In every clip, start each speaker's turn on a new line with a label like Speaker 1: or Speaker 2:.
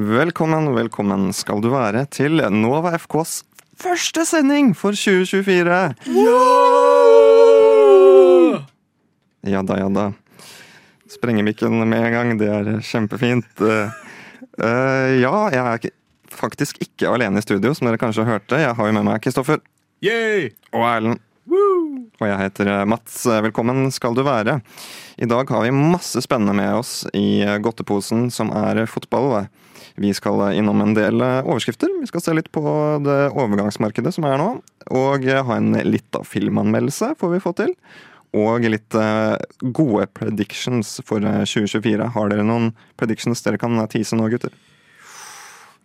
Speaker 1: Velkommen, velkommen skal du være til Nova FKs første sending for 2024. Ja da, ja da. Sprenge mikken med en gang, det er kjempefint. Eh, eh, ja, jeg er ikke- faktisk ikke alene i studio, som dere kanskje hørte. Jeg har jo med meg Kristoffer
Speaker 2: Yay!
Speaker 1: og Erlend. Og jeg heter eh, Mats. Velkommen skal du være. I dag har vi masse spennende med oss i godteposen, som er fotball. Vi skal innom en del eh, overskrifter. Vi skal se litt på det overgangsmarkedet som er nå. Og eh, ha en litt av filmanmeldelse får vi få til. Og litt eh, gode predictions for eh, 2024. Har dere noen predictions dere kan eh, tease nå, gutter?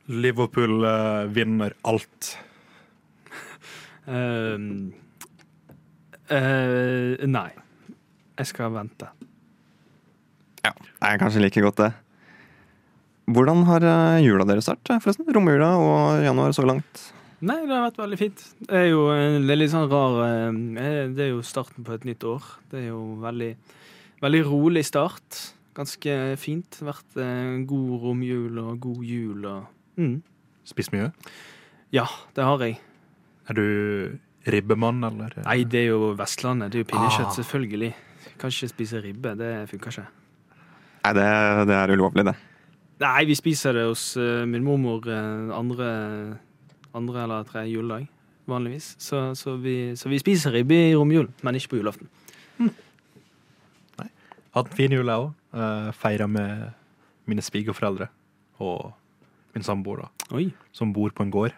Speaker 2: Liverpool eh, vinner alt.
Speaker 3: Ehm, eh, nei. Jeg skal vente.
Speaker 1: Nei, kanskje like godt det. Hvordan har eh, jula deres vært, eh, forresten? Romjula og januar så langt?
Speaker 3: Nei, det har vært veldig fint. Det er jo en det er litt sånn rar eh, eh, Det er jo starten på et nytt år. Det er jo veldig, veldig rolig start. Ganske fint. Vært eh, god romjul og god jul og mm.
Speaker 2: Spist mye.
Speaker 3: Ja, det har jeg.
Speaker 2: Er du ribbemann, eller?
Speaker 3: Nei, det er jo Vestlandet. Det er jo
Speaker 2: Ah.
Speaker 3: pinnekjøtt, selvfølgelig. Kan ikke spise ribbe. Det funker ikke.
Speaker 1: Nei, det, det er ulovlig, det.
Speaker 3: Nei, vi spiser det hos eh, min mormor eh, andre, andre eller tredje juledag, vanligvis. Så, så, vi, så vi spiser ribbe i romjulen, men ikke på julaften.
Speaker 2: Hatt en fin jul, jeg òg. Uh, Feira med mine svigerforeldre og min samboer, da,
Speaker 3: Oi.
Speaker 2: som bor på en gård.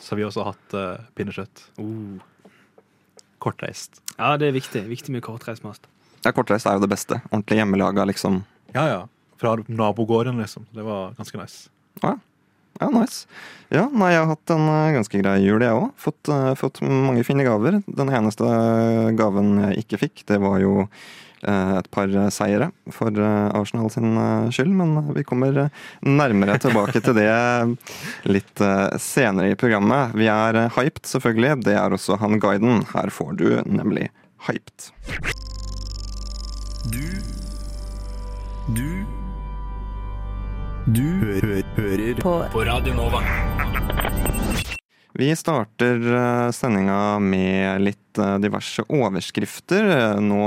Speaker 2: Så vi har også hatt eh, pinnekjøtt.
Speaker 4: Oh.
Speaker 2: Kortreist.
Speaker 3: Ja, det er viktig. Viktig med kortreist mat.
Speaker 1: Ja, Kortreist er jo det beste. Ordentlig hjemmelaga, liksom.
Speaker 2: Ja, ja. Fra nabogården, liksom. Det var ganske nice.
Speaker 1: Ja, nice. Ja, nei, jeg har hatt en eh, ganske grei jul, jeg òg. Fått, eh, fått mange fine gaver. Den eneste eh, gaven jeg ikke fikk, det var jo eh, et par eh, seire for eh, Arsenal sin eh, skyld, men vi kommer eh, nærmere tilbake til det litt eh, senere i programmet. Vi er eh, hyped, selvfølgelig. Det er også han guiden. Her får du nemlig hyped.
Speaker 4: Du Du Du hø hø hører på. Radio Nova.
Speaker 1: Vi starter eh, sendinga med litt eh, diverse overskrifter. Eh, Nå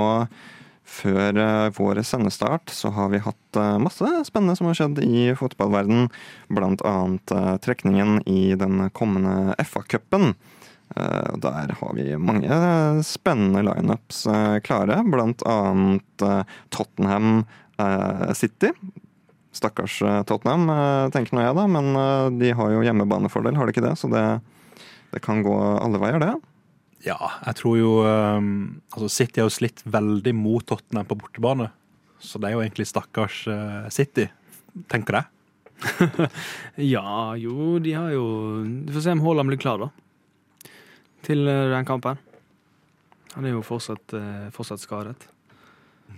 Speaker 1: før eh, vår sendestart så har vi hatt eh, masse spennende som har skjedd i fotballverden. Blant annet eh, trekningen i den kommende FA-cupen. Eh, og Der har vi mange eh, spennende lineups eh, klare, blant annet eh, Tottenham eh, City. Stakkars eh, Tottenham, eh, tenker nå jeg da, men eh, de har jo hjemmebanefordel, har de ikke det? Så det, det kan gå alle veier, det.
Speaker 2: Ja, jeg tror jo ehm, altså City har jo slitt veldig mot Tottenham på bortebane. Så det er jo egentlig stakkars eh, City, tenker jeg.
Speaker 3: Ja, jo, de har jo Vi får se om Haaland blir klar, da. Til eh, den kampen. Han er jo fortsatt, eh, fortsatt skadet.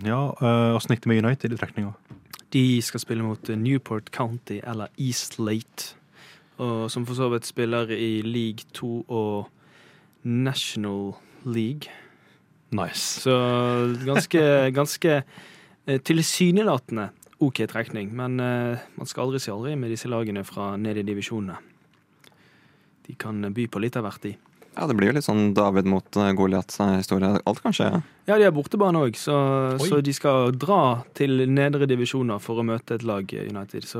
Speaker 2: Ja, eh, Åssen gikk det med United i trekninga?
Speaker 3: De skal spille mot Newport County eller Eastlate. Og som for så vidt spiller i League 2 og National League.
Speaker 2: Nice.
Speaker 3: Så ganske, ganske eh, tilsynelatende OK trekning. Men eh, man skal aldri si aldri med disse lagene fra ned i divisjonene. De kan by på litt av hvert, de.
Speaker 1: Ja, Det blir jo litt sånn David mot eh, Goliat-historie. Alt kan skje.
Speaker 3: Ja, de har bortebane òg, så,
Speaker 2: Oi.
Speaker 3: så de skal dra til nedre divisjoner for å møte et lag eh, United. Så,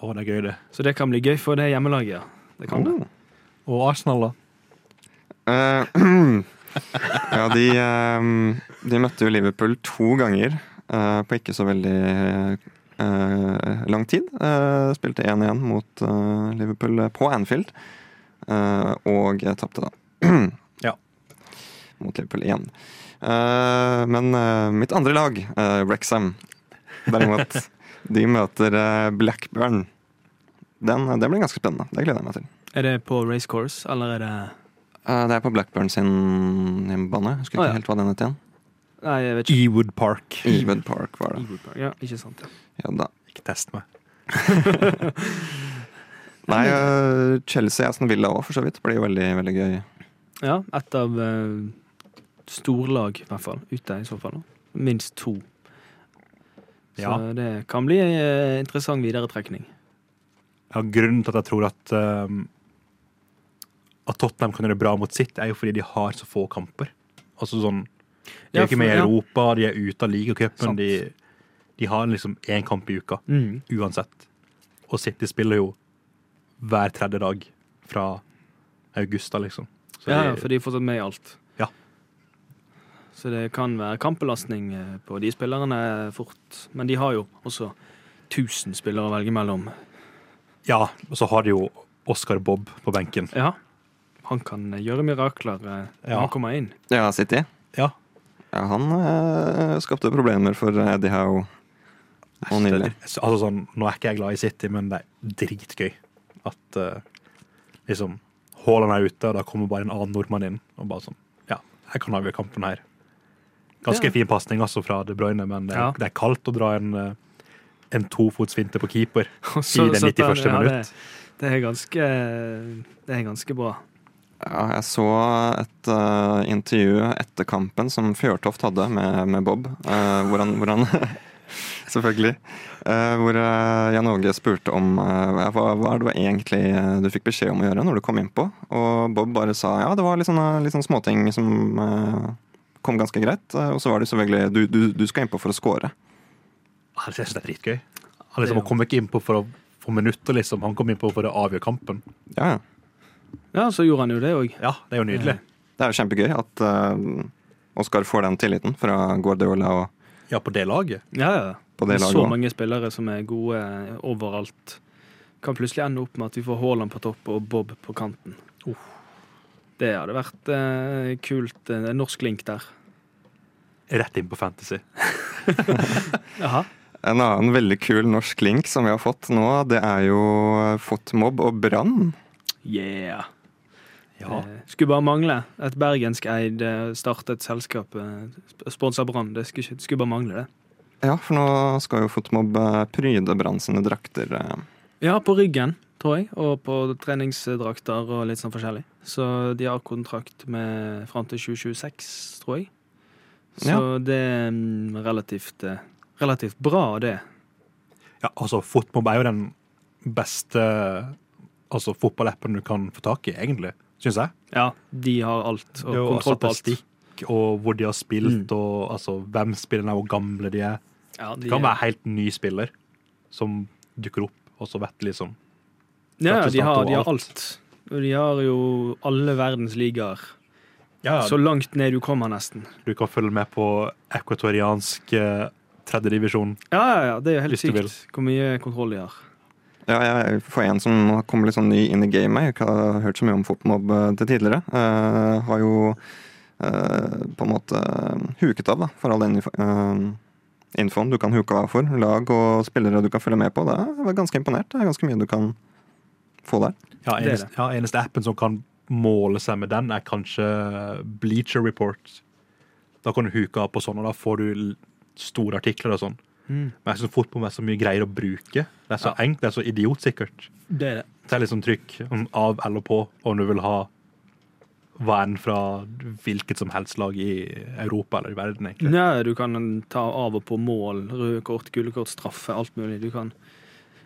Speaker 2: Å, det er gøy, det.
Speaker 3: så det kan bli gøy for det hjemmelaget, ja. Det kan det.
Speaker 1: Oh.
Speaker 2: Og Arsenal, da?
Speaker 1: Eh, ja, de, eh, de møtte jo Liverpool to ganger eh, på ikke så veldig eh, lang tid. Eh, spilte 1-1 mot eh, Liverpool på Anfield, eh, og tapte da.
Speaker 2: Ja.
Speaker 1: Mot Liverpool igjen. Eh, men eh, mitt andre lag, eh, Wrexham, derimot, de møter eh, Blackburn. Den, eh, den blir ganske spennende. Det gleder jeg meg til.
Speaker 3: Er det på race course, eller er det
Speaker 1: Eh, Det er på Blackburn sin hjemmebane. Husker ikke
Speaker 3: Å, ja. Mm.
Speaker 1: helt hva den het igjen.
Speaker 3: Nei, jeg vet ikke.
Speaker 2: Ewood Park.
Speaker 1: Ewood Park var det.
Speaker 3: Ewood Park. Ja, ikke sant.
Speaker 1: Ja, da.
Speaker 2: Ikke test meg.
Speaker 1: Nei, eh, Chelsea Aston Villa òg, for så vidt. Blir jo veldig, veldig gøy.
Speaker 3: Ja, et av eh, storlag, i hvert fall. Ute, i så fall. da. Minst to. Så
Speaker 2: Ja.
Speaker 3: det kan bli eh, interessant videretrekning.
Speaker 2: Ja, grunnen til at jeg tror at, ehm, at Tottenham kan gjøre det bra mot sitt, er jo fordi de har så få kamper. Altså sånn, De er
Speaker 3: Ja,
Speaker 2: ikke med i
Speaker 3: for- ja.
Speaker 2: Europa, de er ute av ligacupen.
Speaker 3: Sant.
Speaker 2: De, de har liksom én kamp i uka,
Speaker 3: Mm.
Speaker 2: uansett. Og City spiller jo hver tredje dag fra august, da, liksom. Så
Speaker 3: Ja,
Speaker 2: de-
Speaker 3: for de er fortsatt med i alt.
Speaker 2: Ja.
Speaker 3: Så det kan være kampbelastning eh, på de spillerne fort. Men de har jo også 1000 spillere å velge mellom.
Speaker 2: ja, og så har de jo Oscar Bob på benken.
Speaker 3: Ja. Han kan eh, gjøre mirakler eh, når
Speaker 2: Ja.
Speaker 3: han kommer inn.
Speaker 1: Ja, City.
Speaker 2: Ja,
Speaker 1: Ja, han eh, skapte problemer for Eddie Howe og Nille.
Speaker 2: Så- Altså sånn, Nå er ikke jeg glad i City, men det er dritgøy at eh, liksom Haaland er ute, og da kommer bare en annen nordmann inn og bare sånn Ja, jeg kan avgjøre kampen her. Ganske
Speaker 3: Ja.
Speaker 2: fin pasning altså fra De Bruyne, men det er,
Speaker 3: Ja.
Speaker 2: det er kaldt å dra en, eh, en tofotsfinte på keeper.
Speaker 3: Og så
Speaker 2: I det
Speaker 3: satt han-
Speaker 2: 91. minutt.
Speaker 3: Det, det, er ganske, det er ganske bra.
Speaker 1: Ja, jeg så et eh, intervju etter kampen som Fjørtoft hadde med, med Bob. eh, hvor han, hvor han Selvfølgelig. eh, hvor eh, Jan Åge spurte om eh, hva, hva er det var egentlig eh, du fikk beskjed om å gjøre når du kom innpå. Og Bob bare sa ja, det var litt sånne, litt sånne småting som eh, kom ganske greit. eh, og så var det selvfølgelig du, du, du skal innpå for å score.
Speaker 2: Ah, Jeg synes det er dritgøy. Han liksom,
Speaker 3: Det er jo-
Speaker 2: han kom ikke innpå for å få minutter, liksom. Han kom innpå for å avgjøre kampen.
Speaker 1: Ja, ja.
Speaker 3: Ja, så gjorde han jo det òg.
Speaker 2: Ja, det er jo nydelig.
Speaker 1: Det er jo kjempegøy at eh, Oskar får den tilliten fra Guardiola og
Speaker 2: Ja, på det laget.
Speaker 3: Ja, ja.
Speaker 1: på det
Speaker 3: Med
Speaker 1: laget
Speaker 3: så
Speaker 1: òg.
Speaker 3: mange spillere som er gode eh, overalt, kan plutselig ende opp med at vi får Haaland på topp og Bob på kanten. Det hadde vært eh, kult. eh, norsk link der.
Speaker 2: Rett inn på Fantasy.
Speaker 3: Jaha.
Speaker 1: En annen veldig kul norsk link som vi har fått nå, det er jo Fotmob og Brann.
Speaker 3: Yeah.
Speaker 2: Ja.
Speaker 3: Eh, skulle bare mangle at bergenskeid eh, startet selskap, eh, sp- sponsa Brann. Det skulle, ikke- skulle bare mangle, det.
Speaker 1: Ja, for nå skal jo Fotmob eh, pryde Brann sine drakter. eh.
Speaker 3: Ja, på ryggen, tror jeg, og på treningsdrakter og litt sånn forskjellig. Så de har kontrakt med fram til 2026, tror jeg. Så
Speaker 1: Ja.
Speaker 3: det er mm, relativt, eh, relativt bra, det.
Speaker 2: Ja, altså, fotmobb er jo den beste altså, fotballappen du kan få tak i, egentlig, syns jeg.
Speaker 3: Ja, de har alt, og
Speaker 2: Det er jo altså,
Speaker 3: kontroll på alt.
Speaker 2: statistikk og hvor de har spilt,
Speaker 3: Mm.
Speaker 2: og altså, hvem spillerne er, hvor gamle de er.
Speaker 3: Ja, de
Speaker 2: Det kan være helt ny spiller som dukker opp, og så vet liksom
Speaker 3: ja,
Speaker 2: praktisk
Speaker 3: de har,
Speaker 2: talt
Speaker 3: de har
Speaker 2: overalt.
Speaker 3: alt. Og de har jo alle verdens ligaer.
Speaker 2: ja,
Speaker 3: Så langt ned du kommer, nesten.
Speaker 2: Du kan følge med på ekvatoriansk eh, tredjedivisjon.
Speaker 3: Ja, ja, ja, det er jo helt
Speaker 2: Hvis du vil.
Speaker 3: sykt hvor mye kontroll de har.
Speaker 1: Ja, jeg, for en som kom litt sånn ny inn i gamet, jeg ikke har hørt så mye om Fotmob eh, til tidligere, eh, har jo eh, på en måte eh, huket av da, for all den info- eh, infoen du kan huke av for. Lag og spillere du kan følge med på. Det er jeg var ganske imponert. Det er ganske mye du kan få der.
Speaker 2: Ja,
Speaker 3: Det er
Speaker 2: eneste, ja, eneste appen som kan måle seg med den, er kanskje Bleacher Report. Da kan du huke av på sånn, og da får du l- store artikler og sånn. Men jeg synes fotball er så mye greier å bruke. Det er så
Speaker 3: Ja.
Speaker 2: enkelt, det er så idiotsikkert.
Speaker 3: Det er det.
Speaker 2: Det er liksom trykk om av eller på om du vil ha hva enn fra hvilket som helst lag i Europa eller i verden, egentlig.
Speaker 3: Ja, du kan ta av og på mål, røde kort, gule kort, straffe, alt mulig. Du kan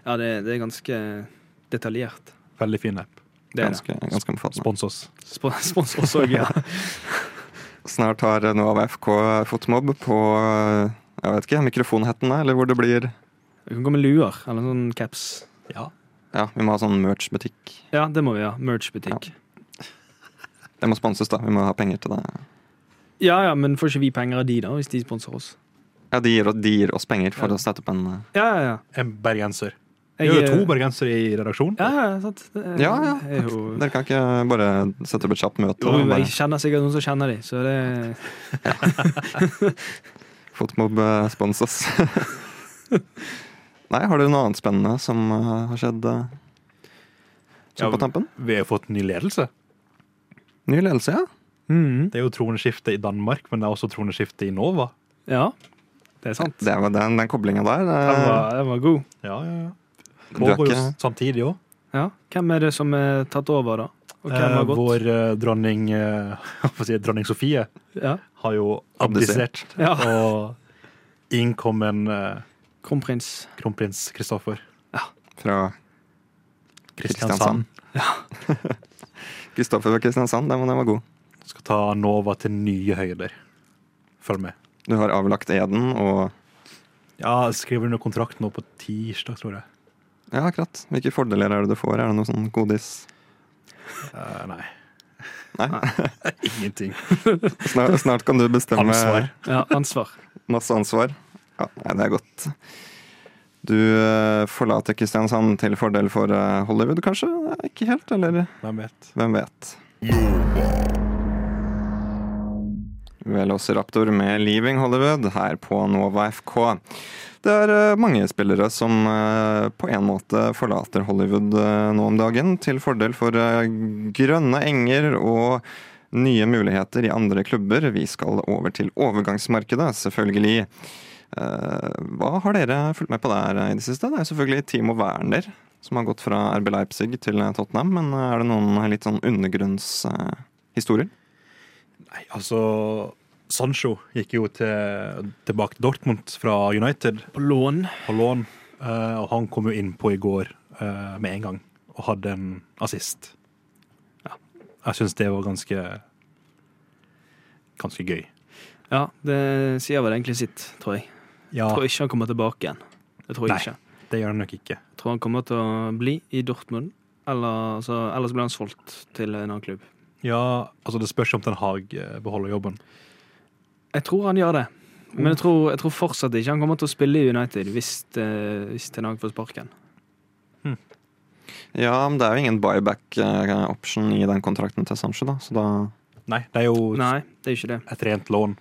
Speaker 3: Ja, det, det er ganske detaljert.
Speaker 2: Veldig fin app.
Speaker 3: Det er det.
Speaker 1: Ganske, ganske omfattende.
Speaker 2: Spons oss.
Speaker 3: Sp- Spons oss òg, ja.
Speaker 1: Snart har eh, nå AFK Fotmob på eh, jeg vet ikke, mikrofonhettene, eller hvor det blir
Speaker 3: Det kan komme luer eller sånn caps.
Speaker 2: Ja.
Speaker 1: Ja, vi må ha sånn merch-butikk.
Speaker 3: Ja, det må vi ha. Merch-butikk.
Speaker 1: Det må sponses, da. Vi må ha penger til det.
Speaker 3: Ja, ja, men får ikke vi penger av de, da, hvis de sponser oss?
Speaker 1: Ja, De gir, de gir oss penger for
Speaker 3: Ja.
Speaker 1: å sette opp en eh,
Speaker 3: Ja, ja, ja.
Speaker 2: En bergenser. Vi
Speaker 3: Jeg
Speaker 2: er jo
Speaker 3: er-
Speaker 2: to bergensere i redaksjonen.
Speaker 3: Ja, ja, sant. Det er-
Speaker 1: Ja, ja.
Speaker 3: er jo-
Speaker 1: Dere kan ikke bare sette opp et kjapt møte?
Speaker 3: Jo,
Speaker 1: og
Speaker 3: men jeg
Speaker 1: bare
Speaker 3: kjenner sikkert noen som kjenner de, så det
Speaker 1: Fotmob eh, sponses. Nei, har dere noe annet spennende som eh, har skjedd eh, som
Speaker 2: Ja,
Speaker 1: på tampen?
Speaker 2: Vi har jo fått ny ledelse.
Speaker 1: Ny ledelse, ja.
Speaker 2: Det er jo troneskifte i Danmark, men det er også troneskifte i Nova.
Speaker 3: Ja, det er sant.
Speaker 1: Det var den, den koblinga der. eh,
Speaker 3: Den var, den var god.
Speaker 2: Ja, ja, ja.
Speaker 1: Du er
Speaker 2: Pågår jo
Speaker 1: ikke-
Speaker 2: samtidig òg.
Speaker 3: Ja. Hvem er det som er tatt over, da? Og hvem har gått?
Speaker 2: Vår eh, dronning, eh, hva får jeg si, dronning Sofie
Speaker 3: Ja.
Speaker 2: har jo abdisert.
Speaker 1: Abdisert.
Speaker 3: Ja.
Speaker 2: Og inn kom en eh,
Speaker 3: Kronprins.
Speaker 2: kronprins Kristoffer.
Speaker 1: Fra
Speaker 2: Kristiansand.
Speaker 1: Kristoffer fra Kristiansand, den, den var god.
Speaker 2: Skal ta Nova til nye høyder. Følg med.
Speaker 1: Du har avlagt eden og
Speaker 2: Ja, jeg skriver under kontrakt nå på tirsdag, tror jeg.
Speaker 1: Ja, akkurat. Hvilke fordeler er det du får? Er det noe sånn godis?
Speaker 2: Eh, nei.
Speaker 1: Nei.
Speaker 2: Ingenting.
Speaker 1: Snart, snart kan du bestemme
Speaker 2: Ansvar.
Speaker 3: Ja, ansvar.
Speaker 1: masse ansvar. Ja, nei, det er godt. Du eh, forlater Kristiansand til fordel for eh, Hollywood, kanskje? Nei, Ikke helt, eller
Speaker 2: Hvem vet?
Speaker 1: hvem vet? Velociraptor med 'Leaving Hollywood' her på Nova FK. Det er eh, mange spillere som eh, på en måte forlater Hollywood eh, nå om dagen, til fordel for eh, grønne enger og nye muligheter i andre klubber. Vi skal over til overgangsmarkedet, selvfølgelig. Eh, Hva har dere fulgt med på der eh, i det siste? Det er jo selvfølgelig Timo Werner som har gått fra RB Leipzig til eh, Tottenham, men eh, er det noen litt sånn undergrunnshistorier?
Speaker 2: Nei, altså Sancho gikk jo til, tilbake til Dortmund fra United
Speaker 3: På lån.
Speaker 2: på lån, eh, og han kom jo innpå i går eh, med en gang og hadde en assist. Ja. Jeg syns det var ganske ganske gøy.
Speaker 3: Ja, det sier vel egentlig sitt, tror jeg.
Speaker 2: Ja,
Speaker 3: Jeg tror ikke han kommer tilbake igjen. Det tror jeg
Speaker 2: Nei.
Speaker 3: ikke.
Speaker 2: det gjør han nok ikke.
Speaker 3: Jeg tror han kommer til å bli i Dortmund, eller, altså, ellers blir han solgt til en annen klubb.
Speaker 2: Ja, altså Det spørs om Ten Hag eh, beholder jobben.
Speaker 3: Jeg tror han gjør det. Men jeg tror, jeg tror fortsatt ikke han kommer til å spille i United hvis, eh, hvis Ten Hag får sparken.
Speaker 1: Ja, men det er jo ingen buyback-option i den kontrakten til Sancho, da, så da
Speaker 2: Nei, det er jo
Speaker 3: Nei, det er ikke det.
Speaker 2: et rent lån.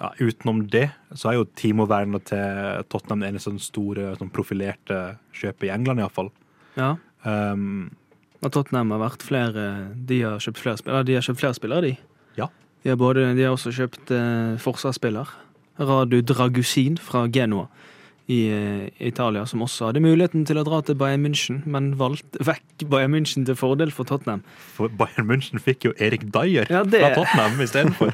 Speaker 2: Ja, utenom det så er jo Timo Werner til Tottenham det eneste sånn store sånn profilerte kjøpet i England, iallfall.
Speaker 3: Ja.
Speaker 2: Um,
Speaker 3: Og Tottenham har vært flere De har kjøpt flere spillere, de. Har kjøpt flere spillere, de.
Speaker 2: Ja.
Speaker 3: De, har både, de har også kjøpt eh, forsvarsspiller. Radu Dragusin fra Genoa i eh, Italia, som også hadde muligheten til å dra til Bayern München, men valgte vekk Bayern München til fordel for Tottenham.
Speaker 2: for Bayern München fikk jo Erik Dyer
Speaker 3: Ja, det-
Speaker 2: fra Tottenham istedenfor.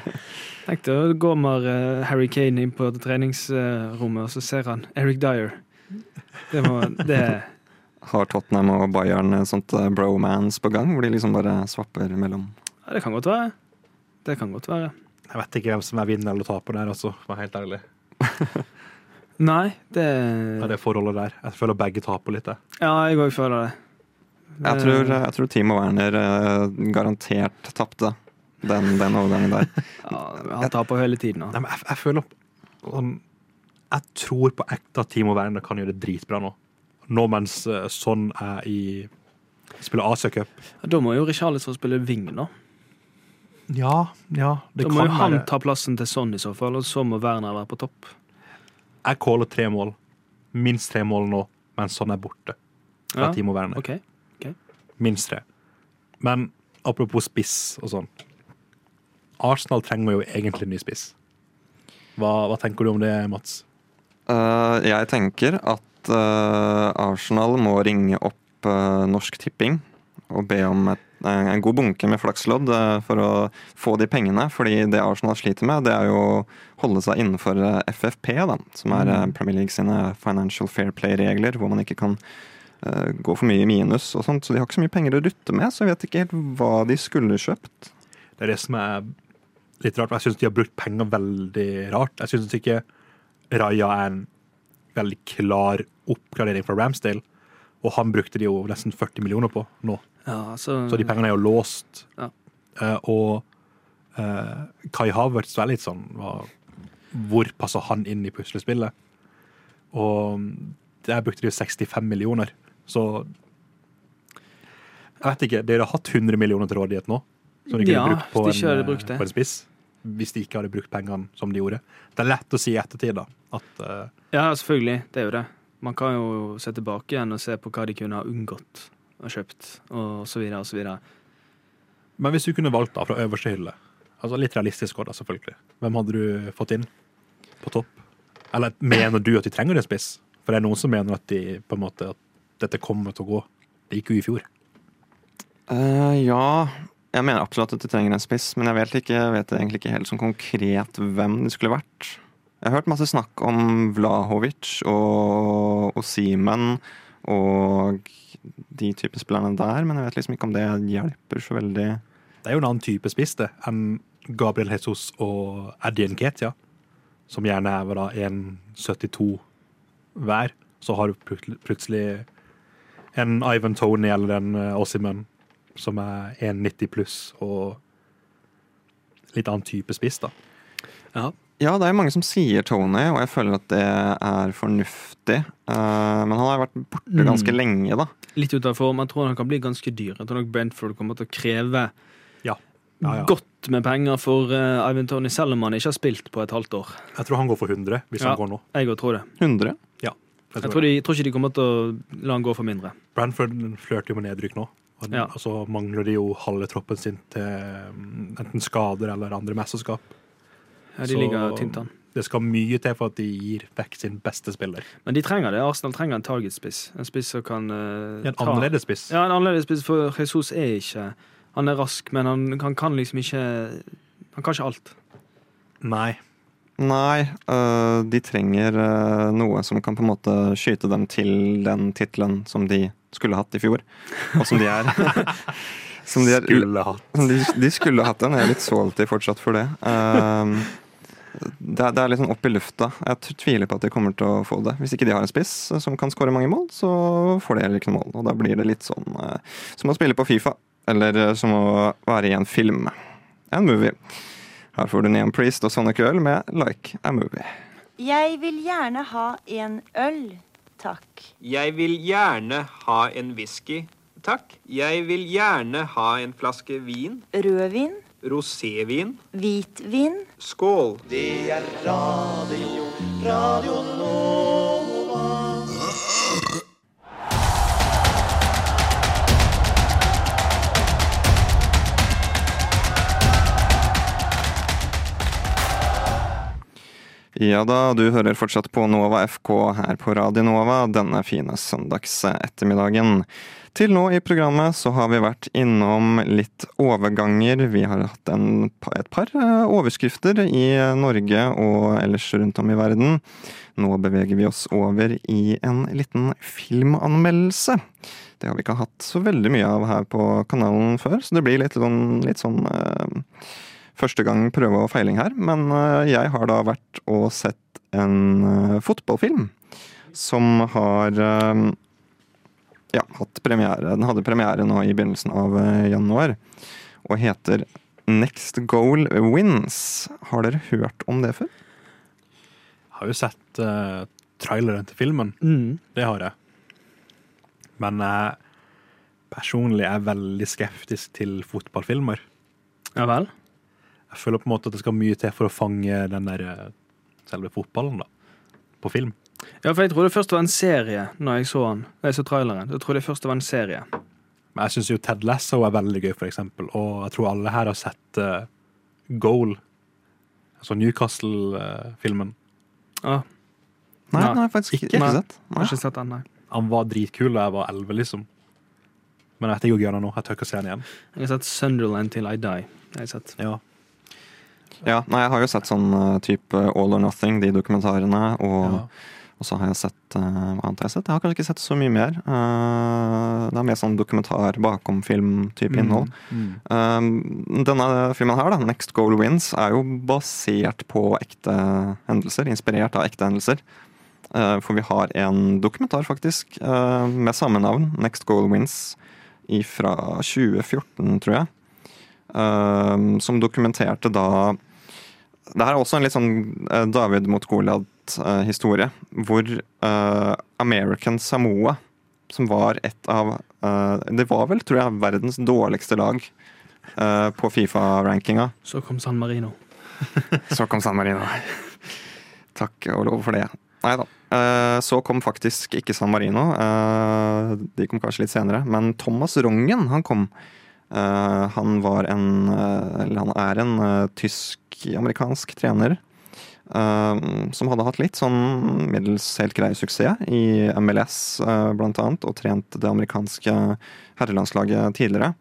Speaker 3: Tenk deg, går med eh, Harry Kane inn på treningsrommet, og så ser han Eric Dyer. Det må Det
Speaker 1: har Tottenham og Bayern et sånt eh, bromance på gang, hvor de liksom bare swapper mellom
Speaker 3: Ja, det kan godt være. Det kan godt være.
Speaker 2: Jeg vet ikke hvem som er vinner eller taper der, altså. for å være helt ærlig.
Speaker 3: Nei, det
Speaker 2: Det er det forholdet der. Jeg føler begge taper litt, jeg.
Speaker 3: Ja, jeg òg føler det.
Speaker 1: Jeg
Speaker 3: Eh.
Speaker 1: tror,
Speaker 2: eh,
Speaker 1: jeg tror Team og Werner eh, garantert tapte den, den overgangen der.
Speaker 3: ja, Han taper hele tiden.
Speaker 2: Nei,
Speaker 3: Han.
Speaker 2: men jeg, jeg føler sånn Jeg tror på ekte at Timo Werner kan gjøre det dritbra nå. Nå mens eh, sånn er i Spiller Asia-cup.
Speaker 3: Da må jo Richarlis få spille wing, da.
Speaker 2: Ja, ja. Det
Speaker 3: Da må jo han
Speaker 2: være-
Speaker 3: ta plassen til Son i så fall, og så må Werner være på topp.
Speaker 2: Jeg caller tre mål. Minst tre mål nå, mens han er borte. Fra
Speaker 3: Ja,
Speaker 2: Timo Werner.
Speaker 3: OK.
Speaker 2: Minst tre. Men apropos spiss og sånn. Arsenal trenger jo egentlig en ny spiss. Hva, hva tenker du om det, Mats?
Speaker 1: Eh, jeg tenker at eh, Arsenal må ringe opp eh, Norsk Tipping og be om et, en en god bunke med flakslodd eh, for å få de pengene. Fordi det Arsenal sliter med, det er jo å holde seg innenfor eh, FFP, da, som er eh, Premier League sine Financial Fair Play-regler, hvor man ikke kan eh, gå for mye i minus og sånt. Så de har ikke så mye penger å rutte med, så jeg vet ikke helt hva de skulle kjøpt.
Speaker 2: Det er det som er litt rart. for Jeg syns de har brukt penger veldig rart. Jeg syns ikke Raja er en veldig klar oppgradering fra Ramsdale. Og han brukte de jo nesten 40 millioner på nå.
Speaker 3: Ja, så,
Speaker 2: Så de pengene er jo låst.
Speaker 3: Ja.
Speaker 2: Eh, og eh, Kai Havertz er litt sånn hva, Hvor passer han inn i puslespillet? Og mm, der brukte de jo 65 millioner, så Jeg vet ikke. Dere har hatt 100 millioner til rådighet nå? Som de kunne
Speaker 3: Ja,
Speaker 2: brukt på,
Speaker 3: hvis de ikke
Speaker 2: en,
Speaker 3: hadde
Speaker 2: eh,
Speaker 3: brukt det.
Speaker 2: på en spiss? Hvis de ikke hadde brukt pengene som de gjorde. Det er lett å si i ettertid, da. At eh,
Speaker 3: Ja, selvfølgelig. Det er jo det. Man kan jo se tilbake igjen og se på hva de kunne ha unngått og kjøpt, og så videre og så videre.
Speaker 2: Men hvis du kunne valgt da fra øverste hylle, altså litt realistisk også, da, selvfølgelig, hvem hadde du fått inn på topp? Eller mener du at de trenger en spiss? For det er noen som mener at de på en måte at dette kommer til å gå. Det gikk jo i fjor.
Speaker 1: Eh, ja, jeg mener absolutt at de trenger en spiss, men jeg vet, ikke, jeg vet egentlig ikke helt sånn konkret hvem det skulle vært. Jeg har hørt masse snakk om Vlahovic og Simen og, og de type spillerne der, men jeg vet liksom ikke om det hjelper så veldig.
Speaker 2: Det er jo en annen type spiss det, enn Gabriel Jesus og Eddie Nketia, som gjerne er da 1,72 hver. Så har du plut- plutselig en Ivan Tony eller en Ossiman som er 1,90 pluss og litt annen type spiss, da.
Speaker 1: Ja, det er jo mange som sier Tony, og jeg føler at det er fornuftig. Eh, men han har vært borte ganske
Speaker 3: Mm.
Speaker 1: lenge, da.
Speaker 3: Litt ut av form. Jeg tror han kan bli ganske dyr. Jeg tror nok Brentford kommer til å kreve
Speaker 2: Ja. Ja, ja.
Speaker 3: godt med penger for eh, Ivan Tony, selv om han ikke har spilt på et halvt år.
Speaker 2: Jeg tror han går for 100 hvis
Speaker 3: Ja.
Speaker 2: han går nå.
Speaker 3: Jeg òg tror det.
Speaker 1: 100.
Speaker 2: Jeg
Speaker 3: Jeg
Speaker 2: tror det.
Speaker 3: tror, de, jeg tror ikke de kommer til å la han gå for mindre.
Speaker 2: Brentford flørter jo med nedrykk nå. Og
Speaker 3: Ja.
Speaker 2: og så mangler de jo halve troppen sin til mm, enten skader eller andre mesterskap.
Speaker 3: Ja, de
Speaker 2: Så-
Speaker 3: ligger tynt an.
Speaker 2: Det skal mye til for at de gir vekk sin beste spiller.
Speaker 3: Men de trenger det. Arsenal trenger en targetspiss. En spiss som kan eh,
Speaker 2: En
Speaker 3: ta-
Speaker 2: annerledes spiss.
Speaker 3: Ja, en annerledes spiss, for Jesus er ikke Han er rask, men han, han kan liksom ikke Han kan ikke alt.
Speaker 2: Nei.
Speaker 1: Nei, øh, de trenger øh, noe som kan på en måte skyte dem til den tittelen som de skulle hatt i fjor, og som de er. som de, er,
Speaker 2: Skulle hatt.
Speaker 1: som de, de skulle hatt den. Jeg er litt salty fortsatt for det. Ehm, det, er- det er litt sånn opp i lufta. Jeg t- tviler på at de kommer til å få det. Hvis ikke de har en spiss som kan skåre mange mål, så får de heller ikke noe mål. Og da blir det litt sånn eh, som å spille på Fifa, eller eh, som å være i en film. En movie. Her får du Neon Priest og Sonic Øl med Like a Movie.
Speaker 5: Jeg vil gjerne ha en øl, takk.
Speaker 6: Jeg vil gjerne ha en whisky, takk. Jeg vil gjerne ha en flaske vin,
Speaker 5: Rødvin,
Speaker 6: rosévin,
Speaker 5: hvitvin,
Speaker 6: skål.
Speaker 1: Ja da, du hører fortsatt på Nova FK her på Radio Nova denne fine søndagsettermiddagen. Til nå i programmet så har vi vært innom litt overganger. Vi har hatt en, pa- et par eh, overskrifter i Norge og ellers rundt om i verden. Nå beveger vi oss over i en liten filmanmeldelse. Det har vi ikke hatt så veldig mye av her på kanalen før, så det blir litt sånn, litt sånn eh, første gang prøve og feiling her, men eh, jeg har da vært og sett en eh, fotballfilm som har eh, ja, hatt premiere. Den hadde premiere nå i begynnelsen av eh, januar, og heter Next Goal Wins. Har dere hørt om det før?
Speaker 2: Har jo sett eh, traileren til filmen. Det har jeg. Men jeg personlig er veldig skeptisk til fotballfilmer.
Speaker 3: Ja vel?
Speaker 2: Jeg føler på en måte at det skal mye til for å fange den der eh, selve fotballen da, på film.
Speaker 3: Ja, for jeg trodde først det var en serie når jeg så han. Når jeg så traileren. Da trodde jeg først det var en serie.
Speaker 2: Men jeg syns jo Ted Lasso er veldig gøy, for eksempel. Og jeg tror alle her har sett eh, Goal, altså eh, Newcastle-filmen.
Speaker 3: Ja,
Speaker 1: Nei,
Speaker 3: Nei,
Speaker 1: den har jeg faktisk ikke,
Speaker 3: ikke.
Speaker 1: ikke
Speaker 3: Nei.
Speaker 1: sett.
Speaker 3: jeg har
Speaker 1: Nei.
Speaker 3: ikke sett den, nei.
Speaker 2: Han var dritkul da jeg var elleve, liksom. Men jeg vet ikke hvor gøy han er nå. Jeg tør ikke å se han igjen.
Speaker 3: Jeg har sett Sunderland Till I Die. Jeg har jeg sett.
Speaker 2: Ja.
Speaker 1: Ja, nei, jeg har jo sett sånn eh, type All or Nothing, de dokumentarene, og
Speaker 2: Ja.
Speaker 1: Og så har jeg sett eh, Hva annet har jeg sett? Jeg har kanskje ikke sett så mye mer. Eh, det er mer sånn dokumentar, bakom-film-type innhold.
Speaker 2: Mm.
Speaker 1: Eh, denne filmen her, da, 'Next Goal Wins', er jo basert på ekte hendelser. Inspirert av ekte hendelser. Eh, for vi har en dokumentar, faktisk, eh, med samme navn, 'Next Goal Wins', fra 2014, tror jeg. Eh, som dokumenterte da Det her er også en litt sånn eh, David mot Goliat-historie. hvor eh, American Samoa, som var et av eh, Det var vel, tror jeg, verdens dårligste lag eh, på Fifa-rankinga.
Speaker 3: Så kom San Marino.
Speaker 1: Så kom San Marino. Takk og lov for det. Nei da. Eh, Så kom faktisk ikke San Marino. Eh, De kom kanskje litt senere. Men Thomas Rongen, han kom. Eh, Han var en eh, Eller han er en eh, tysk-amerikansk trener. eh, Som hadde hatt litt sånn middels helt grei suksess i MLS, eh, blant annet. Og trent det amerikanske herrelandslaget tidligere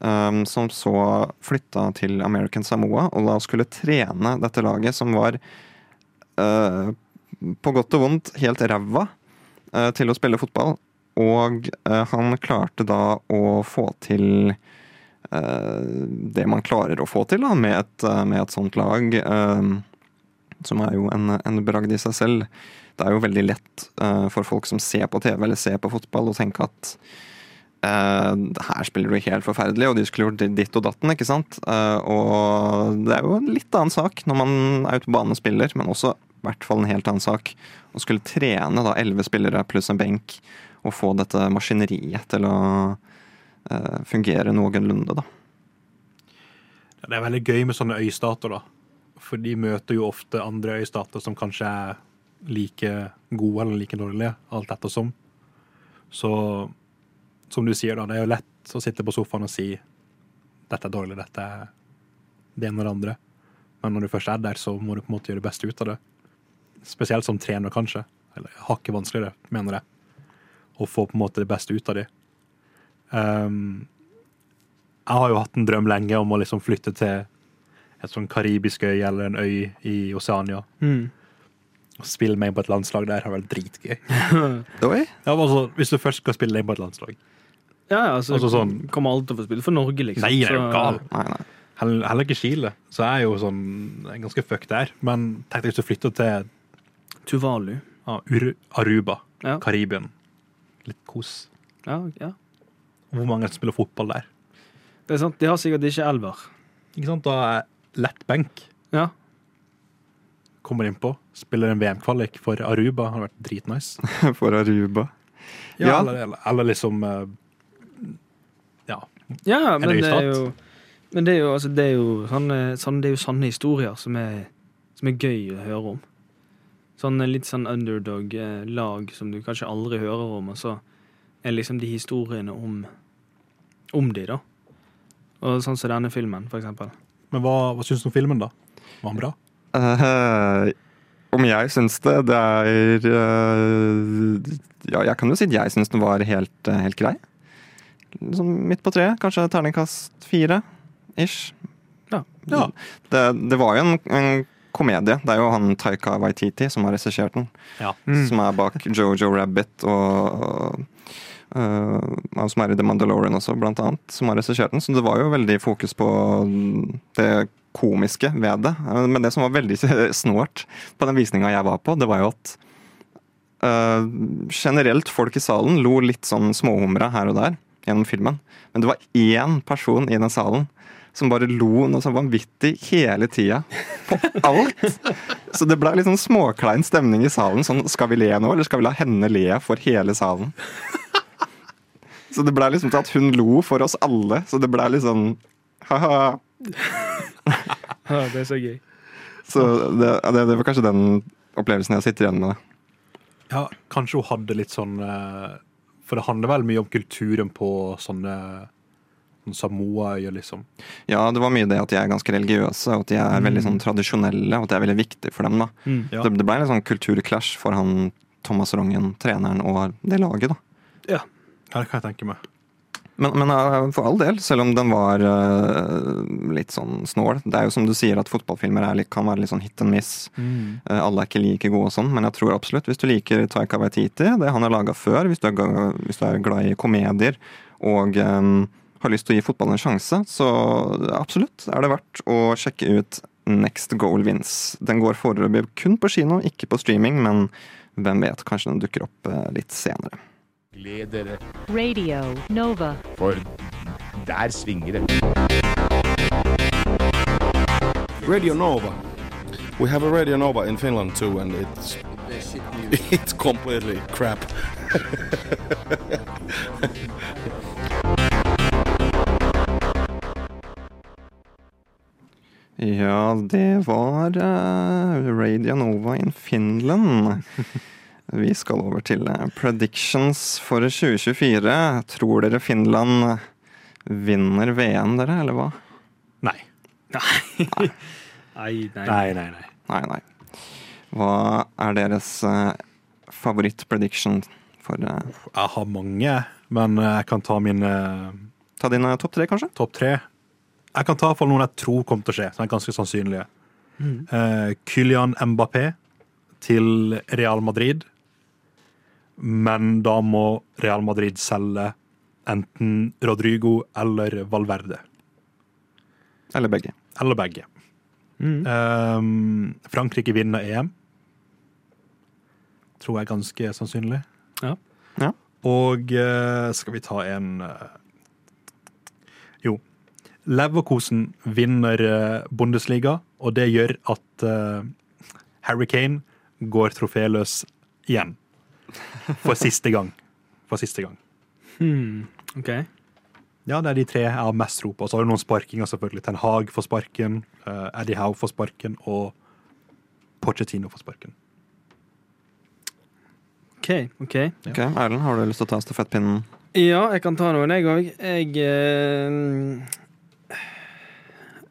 Speaker 1: um, som så flytta til American Samoa og da skulle trene dette laget, som var uh, eh, på godt og vondt helt ræva eh, til å uh, spille fotball. Og eh, han klarte da å få til eh, det man klarer å få til da, med, et, eh, med et sånt lag, eh, som er jo en, en bragd i seg selv. Det er jo veldig lett eh, for folk som ser på TV eller ser på fotball, å tenke at eh, her spiller du helt forferdelig, og de skulle gjort ditt og datten, ikke sant? Eh, og det er jo en litt annen sak når man er ute på banen og spiller, men også i hvert fall en helt annen sak å skulle trene da elleve spillere pluss en benk og få dette maskineriet til å eh, fungere noenlunde, da.
Speaker 2: Det er veldig gøy med sånne øystater, da. For de møter jo ofte andre øystater som kanskje er like gode eller like dårlige, alt ettersom. Så som du sier, da, det er jo lett å sitte på sofaen og si dette er dårlig, dette er det ene og det andre. Men når du først er der, så må du på en måte gjøre det beste ut av det. Spesielt som trener, kanskje. Eller hakket vanskeligere, mener jeg. Å få på en måte det beste ut av de. Um, jeg har jo hatt en drøm lenge om å liksom flytte til et sånn karibisk øy eller en øy i Oseania.
Speaker 3: Mm.
Speaker 2: Og spille meg på et landslag der har vært dritgøy.
Speaker 1: Oi,
Speaker 2: Ja, men altså, hvis du først skal spille deg på et landslag
Speaker 3: Ja, ja, altså,
Speaker 2: Altså sånn-
Speaker 3: Kommer alle til å få spille for Norge, liksom.
Speaker 2: Nei, jeg er jo
Speaker 3: Så-
Speaker 2: gal.
Speaker 1: nei, nei.
Speaker 2: Heller, heller ikke Chile. Så jeg er jo sånn jeg er ganske fucked der. Men tenk deg hvis du flytter til
Speaker 3: Tuvalu.
Speaker 2: ja, Ur- Aruba,
Speaker 3: Ja.
Speaker 2: Karibien. Litt kos.
Speaker 3: Ja, ja.
Speaker 2: Hvor mange er det som spiller fotball der?
Speaker 3: Det er sant. De har sikkert ikke elver.
Speaker 2: Ikke sant? Da er lett benk.
Speaker 3: Ja.
Speaker 2: Kommer innpå, spiller en VM-kvalik for Aruba. Har vært dritnice.
Speaker 1: For Aruba.
Speaker 2: Ja,
Speaker 1: Ja.
Speaker 2: Eller, eller, eller liksom eh, Ja.
Speaker 3: Ja, men det er
Speaker 2: øystat?
Speaker 3: jo Men det er jo, altså, det er jo, sånne, sånne, det er jo sanne historier som er, som er gøy å høre om. Sånn litt sånn underdog-lag som du kanskje aldri hører om, og så er liksom de historiene om Om de, da. Og sånn som denne filmen, for eksempel.
Speaker 2: Men hva, hva syns du om filmen, da? Var den bra?
Speaker 1: Eh, om jeg syns det, det er eh, Ja, jeg kan jo si at jeg syns den var helt, eh, helt grei. Sånn midt på treet. Kanskje terningkast fire ish.
Speaker 3: Ja.
Speaker 2: Ja.
Speaker 1: Det, det var jo en, en komedie. Det er jo han Taika Waititi som har regissert den.
Speaker 2: Ja.
Speaker 1: som er bak Jojo Rabbit og øh, og som er i The Mandalorian også, blant annet, som har regissert den. Så det var jo veldig fokus på det komiske ved det. Eh, Men det som var veldig snålt på den visninga jeg var på, det var jo at øh, generelt folk i salen lo litt sånn småhumra her og der gjennom filmen. Men det var én person i den salen som bare lo noe så vanvittig hele tida. På alt! Så det ble litt sånn småklein stemning i salen. Sånn, skal vi le nå, eller skal vi la henne le for hele salen? Så det ble liksom til at hun lo for oss alle. Så det ble litt sånn ha-ha.
Speaker 3: Ja, det er så gøy.
Speaker 1: Så det, ja, det, det var kanskje den opplevelsen jeg sitter igjen med.
Speaker 2: ja, kanskje hun hadde litt sånn eh, For det handler vel mye om kulturen på sånne sånn Samoa-øyer, liksom.
Speaker 1: Ja, det var mye det at de er ganske religiøse, og at de er veldig sånn tradisjonelle, og at det er veldig viktig for dem, da.
Speaker 3: Mm.
Speaker 2: Ja.
Speaker 1: Det, det ble en litt sånn kulturclash for han Thomas Rongen, treneren, og det laget, da.
Speaker 2: Ja, det kan jeg tenke meg.
Speaker 1: Men, men eh, for all del, selv om den var eh, litt sånn snål. Det er jo som du sier at fotballfilmer er, litt- kan være litt sånn hit and miss. Eh, alle er ikke like gode og sånn, men jeg tror absolutt hvis du liker Taika Waititi, det han har laga før, hvis du, er, ga- hvis du er glad i komedier og eh, har lyst til å gi fotballen en sjanse, så absolutt er det verdt å sjekke ut Next Goal Wins. Den går foreløpig kun på kino, ikke på streaming, men hvem vet, kanskje den dukker opp eh, litt senere.
Speaker 7: Gled dere,
Speaker 8: Radio Nova.
Speaker 7: for der svinger det.
Speaker 4: Radio Nova. We have a Radio Nova in Finland too, and it's it's completely crap.
Speaker 1: Ja, det var eh, Radio Nova in Finland. Vi skal over til eh, predictions for 2024. Tror dere Finland vinner VM, dere, eller hva?
Speaker 2: Nei.
Speaker 3: Nei, nei.
Speaker 2: Nei, nei, nei.
Speaker 1: Nei, nei. Hva er deres eh, favoritt-prediction for eh,
Speaker 2: Jeg har mange, men eh, jeg kan ta mine eh,
Speaker 1: Ta dine topp tre, kanskje?
Speaker 2: topp tre. Jeg kan ta for noen jeg tror kommer til å skje, som er ganske sannsynlige. Eh, Kylian Mbappé til Real Madrid. men da må Real Madrid selge enten Rodrigo eller Valverde.
Speaker 1: Eller begge.
Speaker 2: Eller begge. Ehm, Frankrike vinner EM. Tror jeg er ganske sannsynlig.
Speaker 3: Ja.
Speaker 1: Ja.
Speaker 2: Og eh, skal vi ta en eh, Jo. Leverkosen vinner eh, Bundesliga, og det gjør at eh, Harry Kane går troféløs igjen. For siste gang. For siste gang.
Speaker 3: Hmm. OK.
Speaker 2: Ja, det er de tre jeg har mest tro på. Så har du noen sparkinger, selvfølgelig. Ten Hag får sparken, eh, Eddie Howe får sparken, og Pochettino får sparken.
Speaker 3: OK. ok.
Speaker 1: Ok, Erlend, har du lyst til å ta stafettpinnen?
Speaker 3: Ja, jeg kan ta noen, jeg òg. Jeg eh,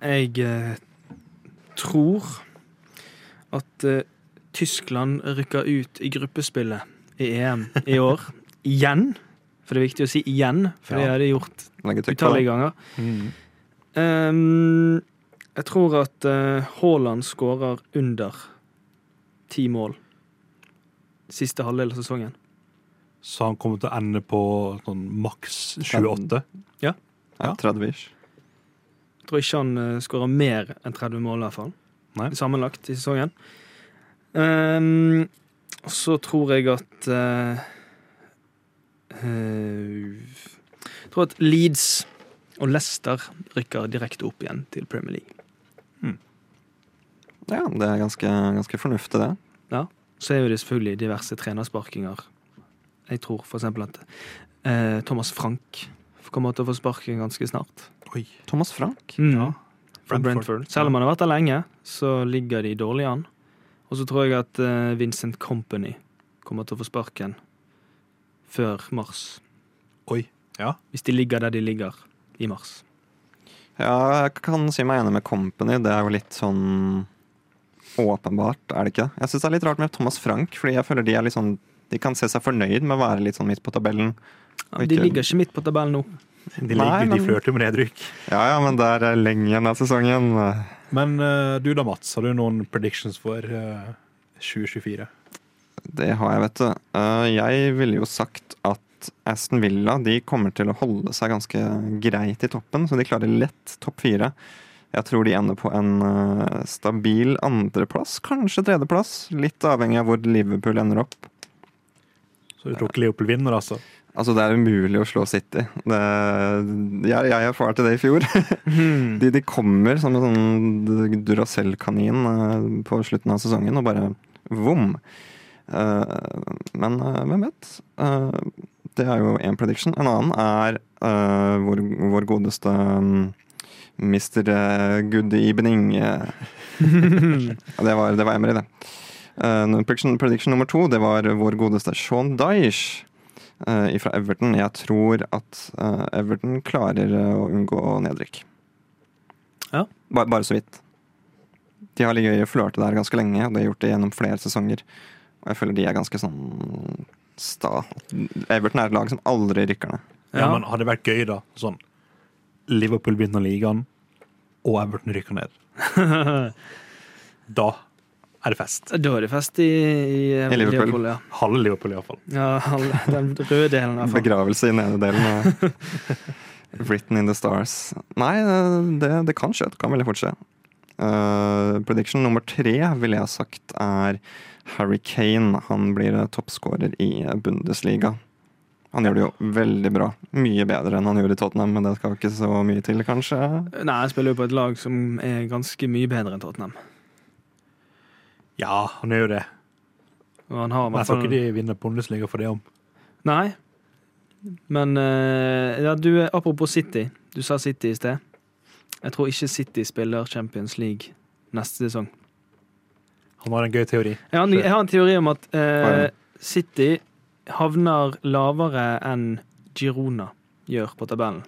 Speaker 3: Jeg eh, tror at eh, Tyskland rykker ut i gruppespillet i EM i år. igjen. For det er viktig å si igjen, for det
Speaker 2: Ja.
Speaker 3: har de gjort
Speaker 1: Legge trykk på det.
Speaker 3: utallige ganger. Ehm, jeg tror at eh, Haaland skårer under ti mål siste halvdel av sesongen.
Speaker 2: Så han kommer til å ende på sånn maks 28.
Speaker 1: Ja, 30 ish.
Speaker 3: Jeg tror ikke han uh, skårer mer enn 30 mål, i hvert fall.
Speaker 2: Nei.
Speaker 3: Sammenlagt i sesongen. Ehm, og så tror jeg at eh, eh, Jeg tror at Leeds og Leicester rykker direkte opp igjen til Premier League.
Speaker 1: Ja, det er ganske, ganske fornuftig, det.
Speaker 3: Så er jo det selvfølgelig diverse trenersparkinger. Jeg tror for eksempel at eh, Thomas Frank kommer til å få sparken ganske snart.
Speaker 2: Oi.
Speaker 1: Thomas Frank.
Speaker 3: Ja. Fra Brentford. Selv om han har vært der lenge, så ligger de dårlig an. Og så tror jeg at eh, Vincent Company kommer til å få sparken før mars.
Speaker 2: Oi. Ja.
Speaker 3: Hvis de ligger der de ligger i mars.
Speaker 1: Ja, jeg kan si meg enig med Company. Det er jo litt sånn åpenbart, er det ikke? det? Jeg syns det er litt rart med Thomas Frank, fordi jeg føler de er litt sånn De kan se seg fornøyd med å være litt sånn midt på tabellen.
Speaker 3: Ja,
Speaker 1: Og
Speaker 3: de
Speaker 1: ikke-
Speaker 3: ligger ikke midt på tabellen nå.
Speaker 2: De,
Speaker 1: Nei,
Speaker 2: ligger- de
Speaker 1: men-
Speaker 2: flørter med nedrykk.
Speaker 1: Ja ja, men det er eh, lenge igjen av sesongen.
Speaker 2: Men eh, du da, Mats, har du noen predictions for eh, 2024?
Speaker 1: Det har jeg, vet du. Eh, Jeg ville jo sagt at Aston Villa de kommer til å holde seg ganske greit i toppen, så de klarer lett topp fire. Jeg tror de ender på en eh, stabil andreplass, kanskje tredjeplass. Litt avhengig av hvor Liverpool ender opp.
Speaker 2: Så du tror ikke Leopold vinner, altså?
Speaker 1: Altså, det er umulig å slå City. Det, jeg, jeg erfarte det i fjor.
Speaker 3: Mm.
Speaker 1: De, de kommer som en sånn Duracell-kanin eh, på slutten av sesongen og bare vom. Eh, Men eh, hvem vet? Eh, Det er jo én prediction. En annen er eh, vår, vår godeste mm, Mr. eh, Good Evening. eh. Ja, det var, det var Emery, det. Eh, Prediction, prediction nummer to det var vår godeste Sean Dyche fra Everton. Jeg tror at eh, Everton klarer eh, å unngå nedrykk.
Speaker 3: Ja.
Speaker 1: Bare, bare så vidt. De har ligget og flørtet der ganske lenge, og de har gjort det gjennom flere sesonger. Og jeg føler de er ganske sånn sta. Everton er et lag som aldri rykker ned.
Speaker 2: Ja, men hadde det vært gøy, da? Sånn Liverpool vinner ligaen, og Everton rykker ned. da er det fest.
Speaker 3: Da er det fest i, i, eh,
Speaker 1: I Liverpool.
Speaker 3: ja.
Speaker 2: Halve Liverpool, iallfall.
Speaker 3: ja alle- den røde delen, i hvert fall.
Speaker 1: Begravelse i nederdelen. av Written in the stars. Nei, eh, det, det kan skje. Det kan veldig fort skje. Eh, prediction nummer tre ville jeg sagt er Harry Kane. Han blir eh, toppskårer i Bundesliga. Han gjør det jo veldig bra. Mye bedre enn han gjorde i Tottenham, men det skal ikke så mye til, kanskje.
Speaker 3: Nei, jeg spiller jo på et lag som er ganske mye bedre enn Tottenham.
Speaker 2: Ja, han gjør jo det.
Speaker 3: Og han har i
Speaker 2: Men jeg
Speaker 3: hvert
Speaker 2: tror
Speaker 3: fall
Speaker 2: ikke de vinner Bundesliga for det om.
Speaker 3: Nei. Men eh, ja, du, eh, apropos City. Du sa City i sted. Jeg tror ikke City spiller Champions League neste sesong.
Speaker 2: Han har en gøy teori.
Speaker 3: Jeg har, en- jeg har en teori om at eh,
Speaker 1: Oi.
Speaker 3: City havner lavere enn Girona gjør på tabellen.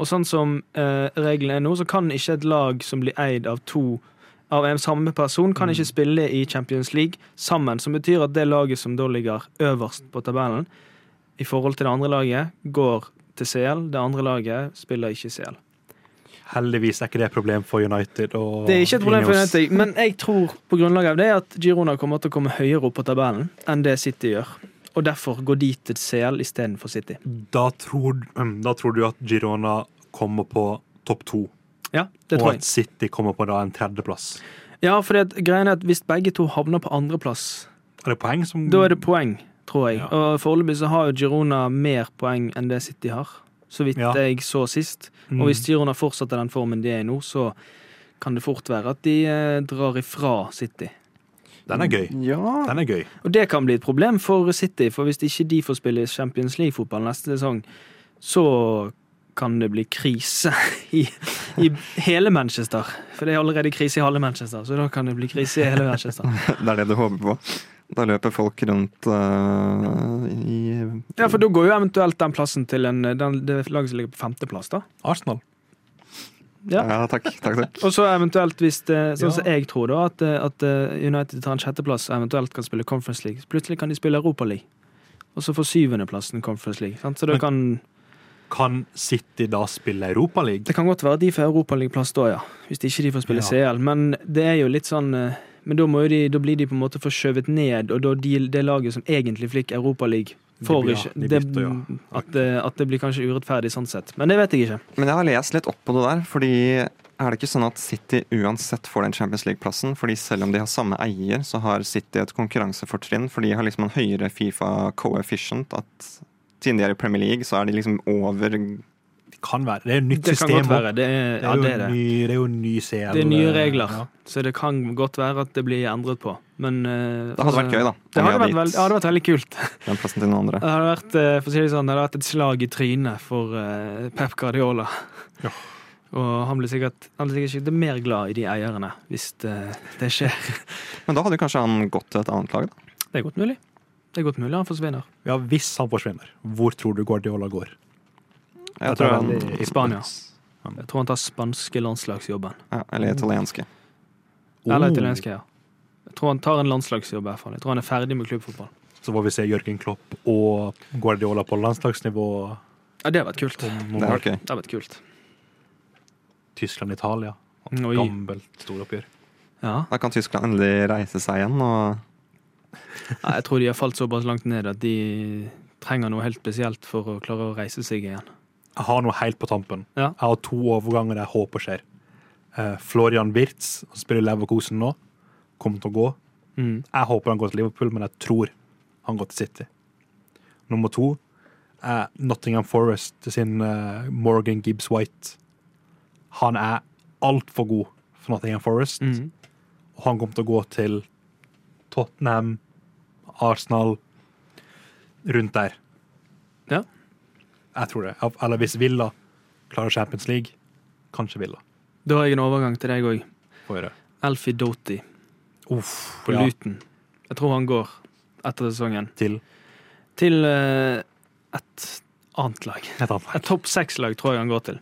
Speaker 3: Og sånn som eh, reglene er nå, så kan ikke et lag som blir eid av to av en samme person, kan ikke spille i Champions League sammen. Som betyr at det laget som da ligger øverst på tabellen, i forhold til det andre laget, går til CL. Det andre laget spiller ikke CL.
Speaker 2: Heldigvis er ikke det et problem for United. Og
Speaker 3: Det er ikke et problem for
Speaker 2: Ineos.
Speaker 3: United, men jeg tror på grunnlag av det at Girona kommer til å komme høyere opp på tabellen enn det City gjør. og derfor går de til CL istedenfor City.
Speaker 2: Da tror, mm, da tror du at Girona kommer på topp to,
Speaker 3: Ja, det
Speaker 2: og
Speaker 3: tror
Speaker 2: at
Speaker 3: jeg.
Speaker 2: City kommer på da en tredjeplass.
Speaker 3: Ja, for greien er at Hvis begge to havner på andreplass,
Speaker 2: Er det poeng som
Speaker 3: da er det poeng, tror jeg.
Speaker 2: Mm. Ja.
Speaker 3: Og Foreløpig så har jo Girona mer poeng enn det City har, så vidt
Speaker 2: Ja.
Speaker 3: jeg så sist.
Speaker 2: Mm.
Speaker 3: Og hvis Girona fortsetter den formen de er i nå, så kan det fort være at de eh, drar ifra City.
Speaker 2: Den er gøy.
Speaker 1: Ja,
Speaker 2: Den er gøy.
Speaker 3: Og det kan bli et problem for City, for hvis ikke de får spille Champions League-fotball neste sesong, så kan det bli krise i, i hele Manchester. For det er allerede krise i halve Manchester, så da kan det bli krise i hele Manchester.
Speaker 1: det er det du håper på. Da løper folk rundt eh, i
Speaker 3: Ja, for da går jo eventuelt den plassen til en, den, det laget som ligger på femteplass, da.
Speaker 2: Arsenal.
Speaker 3: Ja.
Speaker 1: Ja, takk, takk, takk.
Speaker 3: Og så eventuelt, hvis det, sånn som
Speaker 2: Ja.
Speaker 3: jeg tror, da, at, at eh, United tar en sjetteplass og eventuelt kan spille Conference League. Plutselig kan de spille Europa League. Og så får syvendeplassen Conference League. Sant? Så det
Speaker 2: Men-
Speaker 3: kan,
Speaker 2: Kan City da spille Europaligaen?
Speaker 3: det kan godt være de får Europaligaplass da, ja. Hvis de ikke de får spille
Speaker 2: Ja.
Speaker 3: CL. Men det er jo litt sånn eh, Men da, må jo de, da blir de på en måte forskjøvet ned, og da de, det laget som egentlig fikk Europaligaen,
Speaker 2: De
Speaker 3: får
Speaker 2: blir-
Speaker 3: ikke
Speaker 2: de
Speaker 3: det,
Speaker 2: bytter, ja.
Speaker 3: at, det, at det blir kanskje urettferdig sånn sett. Men det vet jeg ikke.
Speaker 1: Men jeg har lest litt opp på det der, fordi er det ikke sånn at City uansett får den Champions League-plassen? Fordi selv om de har samme eier, så har City et konkurransefortrinn, for de har liksom en høyere Fifa coefficient. At siden de er i Premier League, så er de liksom over
Speaker 2: Det kan være. Det er et nytt
Speaker 3: Det
Speaker 2: system.
Speaker 3: kan godt
Speaker 2: også.
Speaker 3: være. Det er,
Speaker 2: Det
Speaker 3: ja,
Speaker 2: er,
Speaker 3: det
Speaker 2: jo
Speaker 3: er det.
Speaker 2: Ny, det er jo ny CL.
Speaker 3: Det er nye regler,
Speaker 2: Ja.
Speaker 3: så det kan godt være at det blir endret på. Men eh,
Speaker 1: Det hadde vært gøy,
Speaker 3: altså,
Speaker 1: da.
Speaker 3: Det
Speaker 1: om de
Speaker 3: hadde vært, veld, ja, det hadde
Speaker 1: gitt
Speaker 3: vært veldig kult.
Speaker 1: den plassen til noen andre.
Speaker 3: Det hadde vært, eh, for å si det sånn, det hadde vært et slag i trynet for eh, Pep Guardiola.
Speaker 2: Ja.
Speaker 3: Og han blir sikkert, han blir sikkert ikke mer glad i de eierne, hvis det, det skjer.
Speaker 1: Men da hadde kanskje han gått til et annet lag, da.
Speaker 3: Det er godt mulig. Det er godt mulig han forsvinner.
Speaker 2: ja, hvis han forsvinner, hvor tror du Guardiola går?
Speaker 1: Jeg tror han,
Speaker 2: veldig-
Speaker 3: I Spania. Jeg tror han tar spanske landslagsjobben.
Speaker 1: ja, eller italienske.
Speaker 3: Eller
Speaker 2: Oh,
Speaker 3: italienske, ja. Jeg tror han tar en landslagsjobb, i hvert fall. Jeg tror han er ferdig med klubbfotball.
Speaker 2: Så får vi se Jørgen Klopp og Guardiola på landslagsnivå
Speaker 3: Ja, det hadde vært kult.
Speaker 2: om
Speaker 1: Det
Speaker 2: noen
Speaker 1: hadde
Speaker 2: år.
Speaker 1: vært gøy.
Speaker 3: Det hadde vært kult.
Speaker 2: Tyskland-Italia.
Speaker 3: Oi.
Speaker 2: Gammelt storoppgjør.
Speaker 3: Ja.
Speaker 1: Da kan Tyskland endelig reise seg igjen og
Speaker 3: Nei, jeg tror de har falt såpass langt ned at de trenger noe helt spesielt for å klare å reise seg igjen.
Speaker 2: Jeg har noe helt på tampen.
Speaker 3: Ja.
Speaker 2: Jeg har to overganger jeg håper skjer. Eh, Florian Wirtz han spiller i Leverkusen nå. Kommer til å gå.
Speaker 3: Mm.
Speaker 2: Jeg håper han går til Liverpool, men jeg tror han går til City. Nummer to er Nottingham Forest sin eh, Morgan Gibbs White. Han er altfor god for Nottingham Forest,
Speaker 3: Mhm.
Speaker 2: og han kommer til å gå til Tottenham, Arsenal, rundt der.
Speaker 3: Ja.
Speaker 2: Jeg tror det. Eller hvis Villa klarer Champions League, kanskje Villa.
Speaker 3: Da har jeg en overgang til deg òg.
Speaker 2: Får gjøre.
Speaker 3: Alfie Doty
Speaker 2: Uff,
Speaker 3: på Luton. Jeg tror han går etter sesongen
Speaker 2: Til
Speaker 3: til eh, et annet lag.
Speaker 2: et annet lag.
Speaker 3: Et topp seks-lag tror jeg han går til.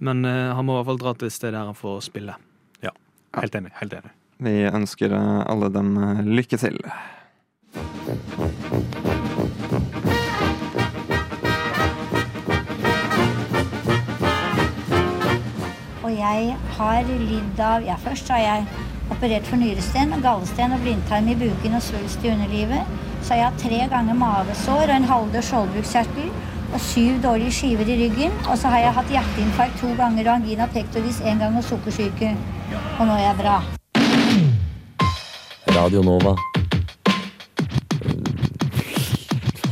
Speaker 3: Men eh, han må i hvert fall dra til et sted der han får spille.
Speaker 2: Helt enig. helt enig.
Speaker 1: vi ønsker eh, alle dem eh, lykke til.
Speaker 9: Og jeg har lidd av Ja, først har jeg operert for nyresten, gallesten og blindtarm i buken og svulst i underlivet. Så har jeg hatt tre ganger mavesår og en halvdød skjoldbruskkjertel og syv dårlige skiver i ryggen. Og så har jeg hatt hjerteinfarkt to ganger og angina pectoris én gang og sukkersyke. Og nå er jeg bra.
Speaker 10: Radio Nova.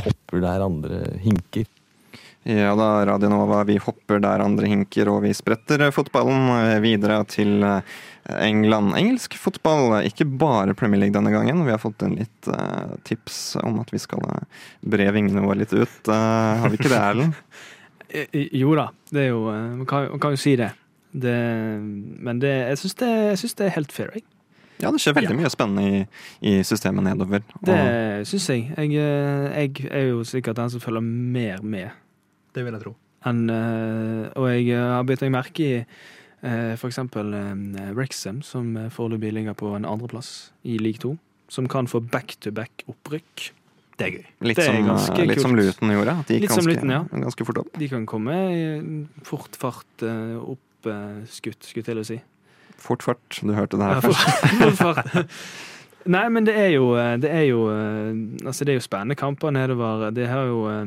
Speaker 10: Hopper der andre hinker.
Speaker 1: Ja da, Radio Nova, vi hopper der andre hinker, og vi spretter fotballen eh, videre til eh, England. Engelsk fotball, eh, ikke bare Premier League denne gangen. Vi har fått en litt eh, tips om at vi skal eh, bre vingene våre litt ut. Eh, har vi ikke det, Erlend?
Speaker 3: Eh, eh, Jo da, det er jo eh, Man kan, man kan jo si det. det men det, jeg syns det, jeg synes det er helt fair, jeg.
Speaker 1: Ja, det skjer veldig mye spennende i, i systemet nedover. Og,
Speaker 3: Det syns jeg. jeg. eh, Jeg er jo sikkert den som følger mer med.
Speaker 2: Det vil jeg tro.
Speaker 3: Enn, eh, og jeg eh, har bitt meg merke i eh, for eksempel eh, Wrexham, som eh, foreløpig ligger på en andreplass i league 2. Som kan få back-to-back-opprykk.
Speaker 2: Det er gøy.
Speaker 1: litt
Speaker 3: det er
Speaker 1: som,
Speaker 3: ganske
Speaker 1: eh, litt som
Speaker 3: kult.
Speaker 1: Luton gjorde. At de gikk
Speaker 3: Litt som
Speaker 1: ganske,
Speaker 3: Luton, ja.
Speaker 1: ganske fort opp.
Speaker 3: De kan komme i fort fart eh, opp eh, skutt, skulle jeg til å si.
Speaker 1: Fort, fort. Du hørte det
Speaker 3: Ja,
Speaker 1: her
Speaker 3: fort,
Speaker 1: først.
Speaker 3: fort fart. Nei, men det er jo eh, Det er jo, eh, altså det er jo spennende kamper nedover. Det har jo eh,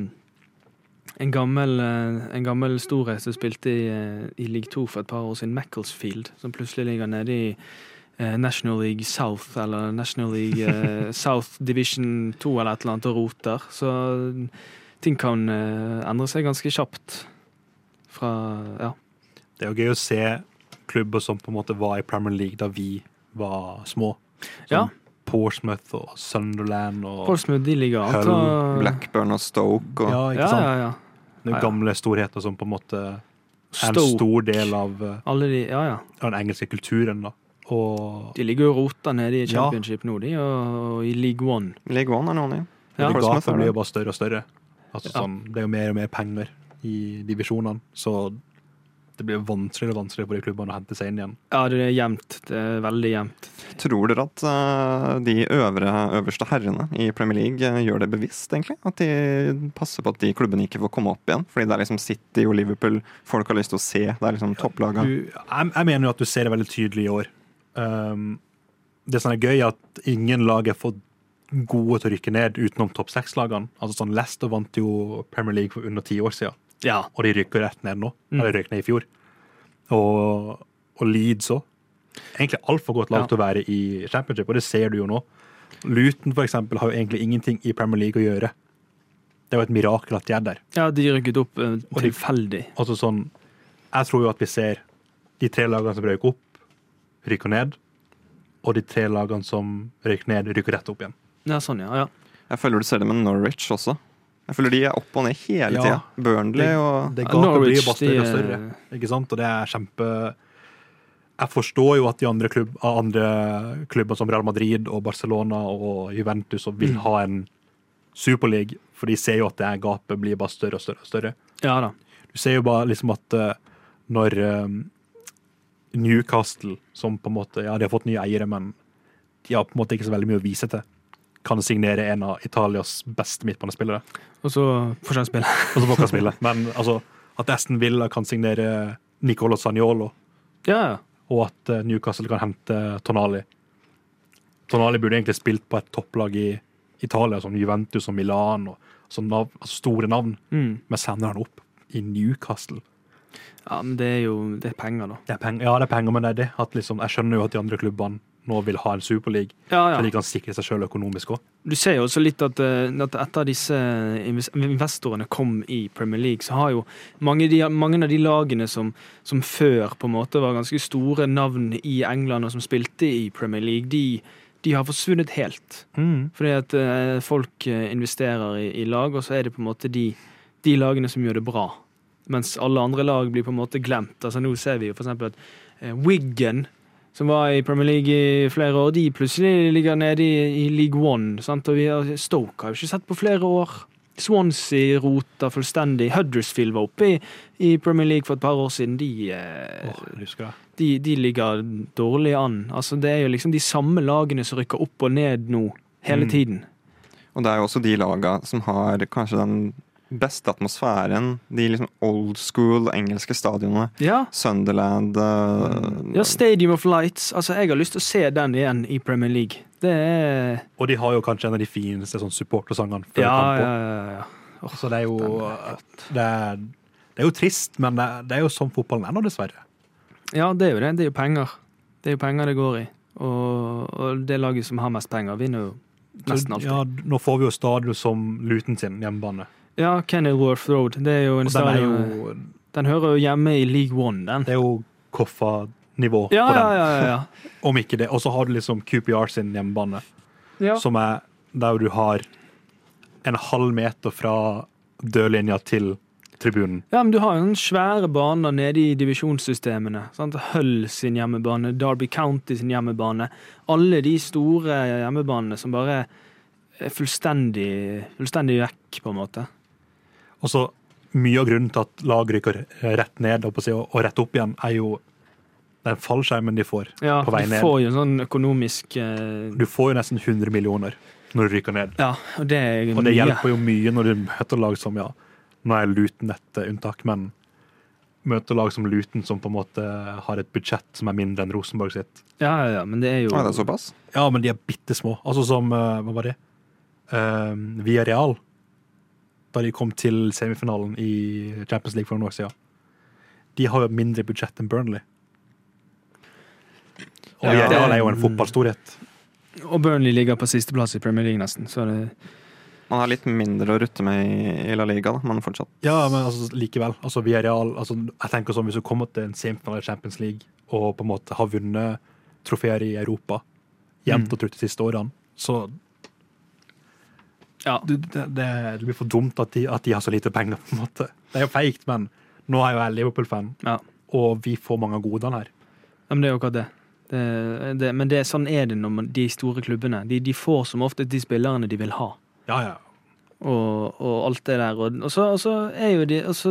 Speaker 3: en gammel, eh, en gammel storhet som spilte i, eh, i league 2 for et par år siden, Macclesfield, som plutselig ligger nede i eh, National League South, eller National League eh, South Division 2 eller et eller annet, og roter. Så eh, ting kan eh, endre seg ganske kjapt fra Ja.
Speaker 2: Det er jo gøy å se klubber som på en måte var i Premier League da vi var små. Som
Speaker 3: Ja.
Speaker 2: Portsmouth og Sunderland og
Speaker 3: Portsmouth, de ligger an til å-
Speaker 2: Hull,
Speaker 1: Blackburn og Stoke og
Speaker 2: Ja, ikke
Speaker 3: Ja,
Speaker 2: sant?
Speaker 3: ja, ja.
Speaker 2: Det er
Speaker 3: Ja,
Speaker 2: jo
Speaker 3: ja.
Speaker 2: gamle storheter som på en måte er en
Speaker 3: Stoke.
Speaker 2: stor del av, eh,
Speaker 3: Alle de Ja, ja.
Speaker 2: av den engelske kulturen. da. Og
Speaker 3: De ligger jo og roter nede i
Speaker 2: Ja.
Speaker 3: championship nå, de, og, og i league one.
Speaker 1: League One er noen i.
Speaker 3: Ja.
Speaker 2: det
Speaker 1: Portsmouth
Speaker 2: gapet
Speaker 1: er
Speaker 2: blir
Speaker 1: det.
Speaker 2: jo bare større og større. Altså,
Speaker 3: Ja.
Speaker 2: sånn, det er jo mer og mer penger i divisjonene, så det blir vanskeligere og vanskeligere for de klubbene å hente seg inn igjen.
Speaker 3: Ja, det er jevnt. Det er veldig jevnt.
Speaker 1: Tror dere at eh, de øvre, øverste herrene i Premier League eh, gjør det bevisst, egentlig? At de passer på at de klubbene ikke får komme opp igjen? Fordi det er liksom City og Liverpool folk har lyst til å se. Det er liksom topplaga.
Speaker 2: Du, jeg, jeg mener jo at du ser det veldig tydelig i år. Um, det som er gøy, er at ingen lag er for gode til å rykke ned utenom topp seks-lagene. Altså sånn Leicester vant jo Premier League for under ti år siden,
Speaker 3: Ja.
Speaker 2: og de rykker rett ned nå.
Speaker 3: Mm.
Speaker 2: Eller røyk ned i fjor. Og, og Leeds òg. Egentlig altfor godt lag
Speaker 3: Ja.
Speaker 2: til å være i championship, og det ser du jo nå. Luton for eksempel, har jo egentlig ingenting i Premier League å gjøre. Det er jo et mirakel at de er der.
Speaker 3: Ja, de rykket opp eh,
Speaker 2: Og de-
Speaker 3: tilfeldig.
Speaker 2: Altså sånn Jeg tror jo at vi ser de tre lagene som røyker opp, rykker ned. Og de tre lagene som røyker ned, rykker rett opp igjen.
Speaker 3: Ja, sånn, ja. ja.
Speaker 1: Jeg føler du ser det med Norwich også. Jeg føler de er opp og ned hele
Speaker 2: Ja.
Speaker 1: tida. Burnley og
Speaker 2: Det gapet blir jo
Speaker 3: Norwich,
Speaker 2: bare større og
Speaker 3: de, eh,
Speaker 2: større. Ikke sant? Og det er kjempe Jeg forstår jo at de andre, klubb, andre klubbene som Real Madrid og Barcelona og Juventus og
Speaker 3: Mm.
Speaker 2: vil ha en superleague, for de ser jo at det her gapet blir bare større og større og større.
Speaker 3: Ja da.
Speaker 2: Du ser jo bare liksom at eh, når eh, Newcastle, som på en måte Ja, de har fått nye eiere, men de har på en måte ikke så veldig mye å vise til. Kan signere en av Italias beste midtbanespillere.
Speaker 3: Og så forskjellsspill.
Speaker 2: Og så får han spille. Men altså, at Aston Villa kan signere Nicolo Sagnolo,
Speaker 3: Ja, ja.
Speaker 2: og at eh, Newcastle kan hente Tonali Tonali burde egentlig spilt på et topplag i Italia, som Juventus og Milan, og, som nav altså store navn,
Speaker 3: Mm.
Speaker 2: men sender han opp i Newcastle.
Speaker 3: ja. Men det er jo det er penger, da.
Speaker 2: Det er penger, ja, det er penger, men det er det. At liksom, jeg skjønner jo at de andre klubbene nå vil ha en superleague,
Speaker 3: Ja,
Speaker 2: så
Speaker 3: ja.
Speaker 2: de kan sikre seg sjøl økonomisk òg.
Speaker 3: Du ser jo også litt at, eh, at etter disse inves- investorene kom i Premier League, så har jo mange, av de, mange av de lagene som, som før på en måte var ganske store navn i England og som spilte i Premier League, de, de har forsvunnet helt. Fordi at eh, folk eh, investerer i, i lag, og så er det på en måte de, de lagene som gjør det bra. Mens alle andre lag blir på en måte glemt. Altså Nå ser vi jo for eksempel at eh, Wiggen, som var i Premier League i flere år, de plutselig ligger nede i, i League One. Sant? Og vi har, Stoke har jo ikke sett på flere år. Swansea roter fullstendig. Huddersfield var oppe i, i Premier League for et par år siden. De, eh,
Speaker 2: husker jeg.
Speaker 3: de, de ligger dårlig an. Altså, det er jo liksom de samme lagene som rykker opp og ned nå, hele
Speaker 2: Mm.
Speaker 3: tiden.
Speaker 1: Og det er jo også de laga som har kanskje den beste atmosfæren. De liksom old school engelske stadionene.
Speaker 3: Ja.
Speaker 1: Sunderland eh,
Speaker 3: ja, Stadium of Lights. Altså, jeg har lyst til å se den igjen i Premier League. Det er
Speaker 2: Og de har jo kanskje en av de fineste sånn supportersangene før
Speaker 3: Ja,
Speaker 2: kamp
Speaker 3: ja,
Speaker 2: også.
Speaker 3: ja. ja.
Speaker 2: Så det er jo det er, det er jo trist, men det er, det er jo sånn fotballen er nå, dessverre.
Speaker 3: Ja, det er jo det. Det er jo penger. Det er jo penger det går i. Og, og det laget som har mest penger, vinner jo
Speaker 2: Så,
Speaker 3: nesten alltid.
Speaker 2: ja, nå får vi jo stadion som Luton sin hjemmebane.
Speaker 3: Ja, Kenilworth Road. Det er jo en
Speaker 2: Og den er
Speaker 3: stadion
Speaker 2: jo,
Speaker 3: Den hører jo hjemme i League One, den.
Speaker 2: det er jo Koffa-nivå
Speaker 3: Ja,
Speaker 2: på
Speaker 3: ja,
Speaker 2: den,
Speaker 3: ja. ja,
Speaker 2: om ikke det. Og så har du liksom QPR sin hjemmebane.
Speaker 3: ja. ja.
Speaker 2: som er der du har en halv meter fra dørlinja til tribunen.
Speaker 3: Ja, men du har jo noen svære baner nede i divisjonssystemene. Sant? Hull sin hjemmebane, Derby County sin hjemmebane. Alle de store hjemmebanene som bare er fullstendig, fullstendig vekk, på en måte.
Speaker 2: Og så mye av grunnen til at lag rykker rett ned holdt på å si, og og rett opp igjen, er jo den fallskjermen de får
Speaker 3: Ja,
Speaker 2: på vei
Speaker 3: du
Speaker 2: ned.
Speaker 3: får jo en sånn økonomisk eh,
Speaker 2: Du får jo nesten 100 millioner når du rykker ned.
Speaker 3: Ja, og det er
Speaker 2: Og det
Speaker 3: mye.
Speaker 2: hjelper jo mye når du møter lag som ja, nå er Luton et eh, unntak, men møter lag som Luton, som på en måte har et budsjett som er mindre enn Rosenborg sitt.
Speaker 3: Ja, ja, ja, men det er jo
Speaker 1: Er det såpass?
Speaker 2: Ja, men de er bitte små. Altså som eh, Hva var det? Uh, Via Real. Da de kom til semifinalen i Champions League for noen år siden. De har jo mindre budsjett enn Burnley. Og
Speaker 3: Ja.
Speaker 2: Via Real er jo en fotballstorhet.
Speaker 3: Og Burnley ligger på sisteplass i Premier League, nesten. Så er det
Speaker 1: Man har litt mindre å rutte med i i La Liga, da, men fortsatt.
Speaker 2: Ja, men altså, likevel. Altså, vi er real, altså, jeg tenker sånn, Hvis du kommer til en semifinale i Champions League og på en måte har vunnet trofeer i Europa
Speaker 3: Mm.
Speaker 2: jevnt og trutt de siste årene, så
Speaker 3: Ja.
Speaker 2: du, det, det, det blir for dumt at de, at de har så lite penger. på en måte. Det er jo feigt, men nå er jo jeg Liverpool-fan,
Speaker 3: Ja.
Speaker 2: og vi får mange av godene her.
Speaker 3: Ja, men det er jo akkurat det. det, det men det, sånn er det når man, de store klubbene. De, de får som ofte de spillerne de vil ha.
Speaker 2: Ja, ja.
Speaker 3: Og, og alt det der. Og, og, så, og, så er jo de, og så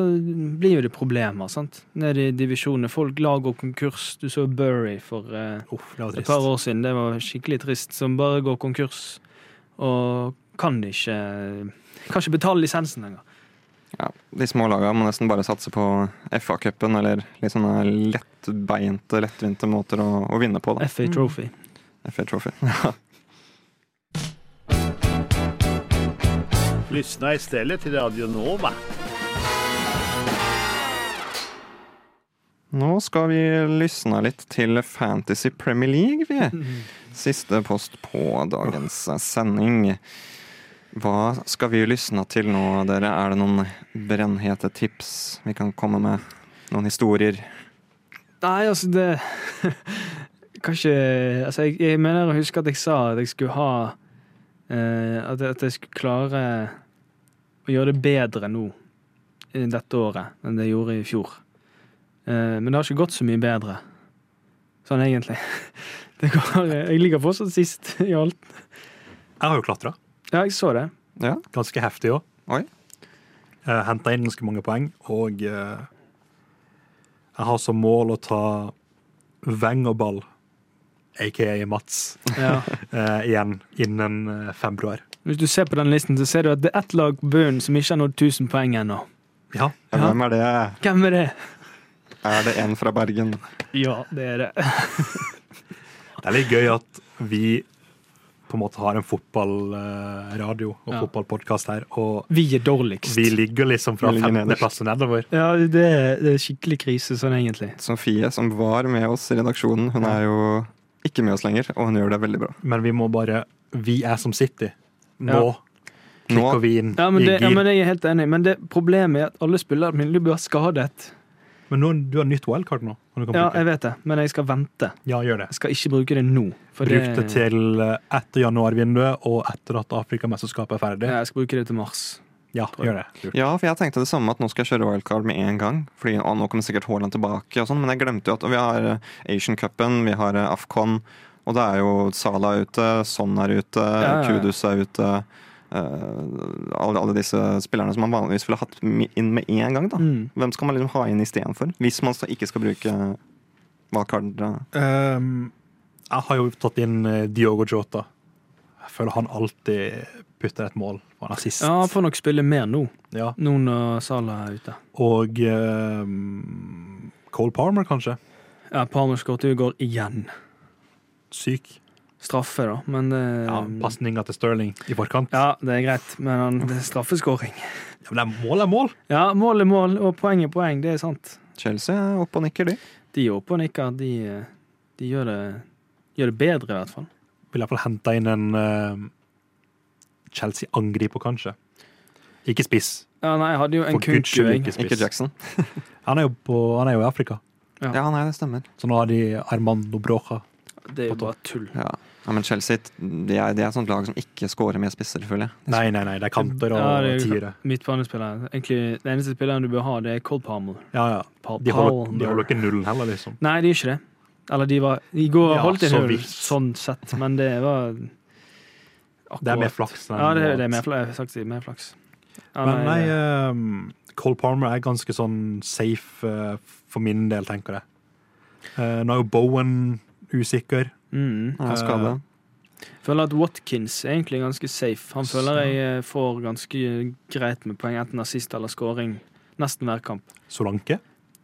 Speaker 3: blir jo det problemer, sant. Nede i divisjonene. Folk lag og konkurs. Du så Bury for eh,
Speaker 2: Uff, det var
Speaker 3: et
Speaker 2: trist.
Speaker 3: par år siden. Det var skikkelig trist. Som bare går konkurs og kan ikke Kan ikke betale lisensen engang.
Speaker 1: Ja, de små lagene må nesten bare satse på FA-cupen, eller litt sånne lettbeinte, lettvinte måter å, å vinne på. da.
Speaker 3: FA Trophy.
Speaker 1: FA Trophy. Ja.
Speaker 11: Lyssna istället till Radio Nova.
Speaker 1: Nå skal vi lysne litt til Fantasy Premier League, vi. Siste post på dagens sending. Hva skal vi lysne til nå, dere? Er det noen brennhete tips vi kan komme med? Noen historier?
Speaker 3: Nei, altså det Kanskje altså jeg, jeg mener å huske at jeg sa at jeg skulle ha eh, at, jeg- at jeg skulle klare å gjøre det bedre nå i dette året enn det jeg gjorde i fjor. Eh, men det har ikke gått så mye bedre, sånn egentlig. Det går, jeg ligger fortsatt sist i alt.
Speaker 2: Jeg har jo klatra.
Speaker 3: Ja, jeg så det.
Speaker 1: Ja.
Speaker 2: Ganske heftig òg.
Speaker 1: Oi.
Speaker 2: Henta inn ganske mange poeng, og eh, jeg har som mål å ta Wengerball, aka Mats,
Speaker 3: Ja.
Speaker 2: eh, igjen innen eh, februar.
Speaker 3: Hvis du ser på den listen, så ser du at det er ett lag på bunnen som ikke har nådd 1000 poeng ennå.
Speaker 2: Ja.
Speaker 1: Ja,
Speaker 3: Ja.
Speaker 1: Hvem er det?
Speaker 3: Hvem er det?
Speaker 1: Er det en fra Bergen?
Speaker 3: Ja, det er det.
Speaker 2: Det er litt gøy at vi på en måte har en fotballradio og
Speaker 3: Ja.
Speaker 2: fotballpodkast her, og
Speaker 3: Vi er dårligst.
Speaker 2: vi ligger liksom fra
Speaker 1: Vi ligger nederst.
Speaker 2: femteplass og nedover.
Speaker 3: Ja, det er, det er skikkelig krise sånn egentlig.
Speaker 1: Sofie, som var med oss i redaksjonen, hun er jo ikke med oss lenger, og hun gjør det veldig bra.
Speaker 2: Men vi må bare Vi er som City. Nå
Speaker 3: Ja.
Speaker 1: Nå-
Speaker 2: klikker vi inn
Speaker 3: Ja, men,
Speaker 2: i
Speaker 3: det,
Speaker 2: gir.
Speaker 3: ja, men Jeg er helt enig, men det problemet er at alle spillere mine blir skadet.
Speaker 2: Men nå, du har nytt wildcard nå. og Du kan
Speaker 3: Ja,
Speaker 2: bruke.
Speaker 3: jeg vet det, men jeg skal vente.
Speaker 2: ja, gjør det.
Speaker 3: Jeg skal ikke bruke det nå. For
Speaker 2: Bruk det til eh, etter januarvinduet og etter at Afrikamesterskapet er ferdig.
Speaker 3: Ja, jeg skal bruke det til mars.
Speaker 2: Ja, gjør det.
Speaker 1: Ja, for jeg tenkte det samme, at nå skal jeg kjøre wildcard med en gang. Fordi å, nå kommer sikkert Haaland tilbake og sånn, men jeg glemte jo at og vi har eh, Asian Cupen, vi har eh, Afcon, og det er jo Sala ute, Son er ute,
Speaker 3: ja, ja.
Speaker 1: Kudus er ute. eh, alle, alle disse spillerne som man vanligvis ville hatt mi- inn med en gang. da
Speaker 3: Mm.
Speaker 1: Hvem skal man liksom ha inn istedenfor? Hvis man så ikke skal bruke wildcard. eh.
Speaker 2: Ehm, jeg har jo tatt inn eh, Diogo Jota. Jeg føler han alltid putter et mål. og Han er sist.
Speaker 3: Ja, Han får nok spille mer nå,
Speaker 2: Ja.
Speaker 3: nå når Salah er ute.
Speaker 2: Og ehm, Cole Palmer, kanskje.
Speaker 3: Ja, Palmer skåret jo i går igjen.
Speaker 2: Syk.
Speaker 3: Straffe, da, men det,
Speaker 2: Ja, Pasninga til Sterling i forkant.
Speaker 3: Mm. Ja, det er greit, men han, det er straffeskåring.
Speaker 2: Ja, men det er mål er mål!
Speaker 3: Ja, mål er mål, og poeng er poeng. Det er sant.
Speaker 1: Chelsea er oppe og nikker, de.
Speaker 3: De er oppe og nikker. De, eh, de gjør, det, gjør det bedre, i hvert fall.
Speaker 2: Vil iallfall hente inn en ehm, Chelsea-angriper, kanskje. Ikke spiss.
Speaker 3: Ja, nei, jeg hadde jo en
Speaker 2: For guds skyld
Speaker 3: kunkueng.
Speaker 2: ikke spiss.
Speaker 1: Ikke Jackson.
Speaker 2: Han er jo, på, han er jo i Afrika.
Speaker 3: Ja.
Speaker 1: Ja, nei, det stemmer.
Speaker 2: Så nå har de Armando Brocha.
Speaker 3: Det er jo bare tull.
Speaker 1: Ja, ja Men Chelsea de er, de er et sånt lag som ikke scorer med spisser, føler jeg.
Speaker 2: Nei, nei, nei, det er kanter og
Speaker 3: Ja, det er jo
Speaker 2: tiere.
Speaker 3: Midtbanespiller. Egentlig, den eneste spilleren du bør ha, det er Cold Palmer.
Speaker 2: Ja, ja.
Speaker 3: Pal
Speaker 2: De holder,
Speaker 3: Palmer.
Speaker 2: de holder ikke nullen heller, liksom.
Speaker 3: Nei, de gjør ikke det. Eller de var I går
Speaker 2: Ja,
Speaker 3: holdt de
Speaker 2: så
Speaker 3: null,
Speaker 2: vidt.
Speaker 3: sånn sett, men det var akkurat.
Speaker 2: Det er mer flaks. enn
Speaker 3: Ja, det, det
Speaker 2: noe
Speaker 3: er mer
Speaker 2: annet.
Speaker 3: flaks. Jeg har sagt det, mer flaks. Ja,
Speaker 2: Men nei, ehm, Cole Palmer er ganske sånn safe eh, for min del, tenker jeg. Eh, nå er jo Bowen usikker.
Speaker 3: mm.
Speaker 1: Ja, skade.
Speaker 3: Føler at Watkins er egentlig ganske safe. Han føler jeg eh, får ganske greit med poeng, enten assist eller scoring, nesten hver kamp.
Speaker 2: Solanke?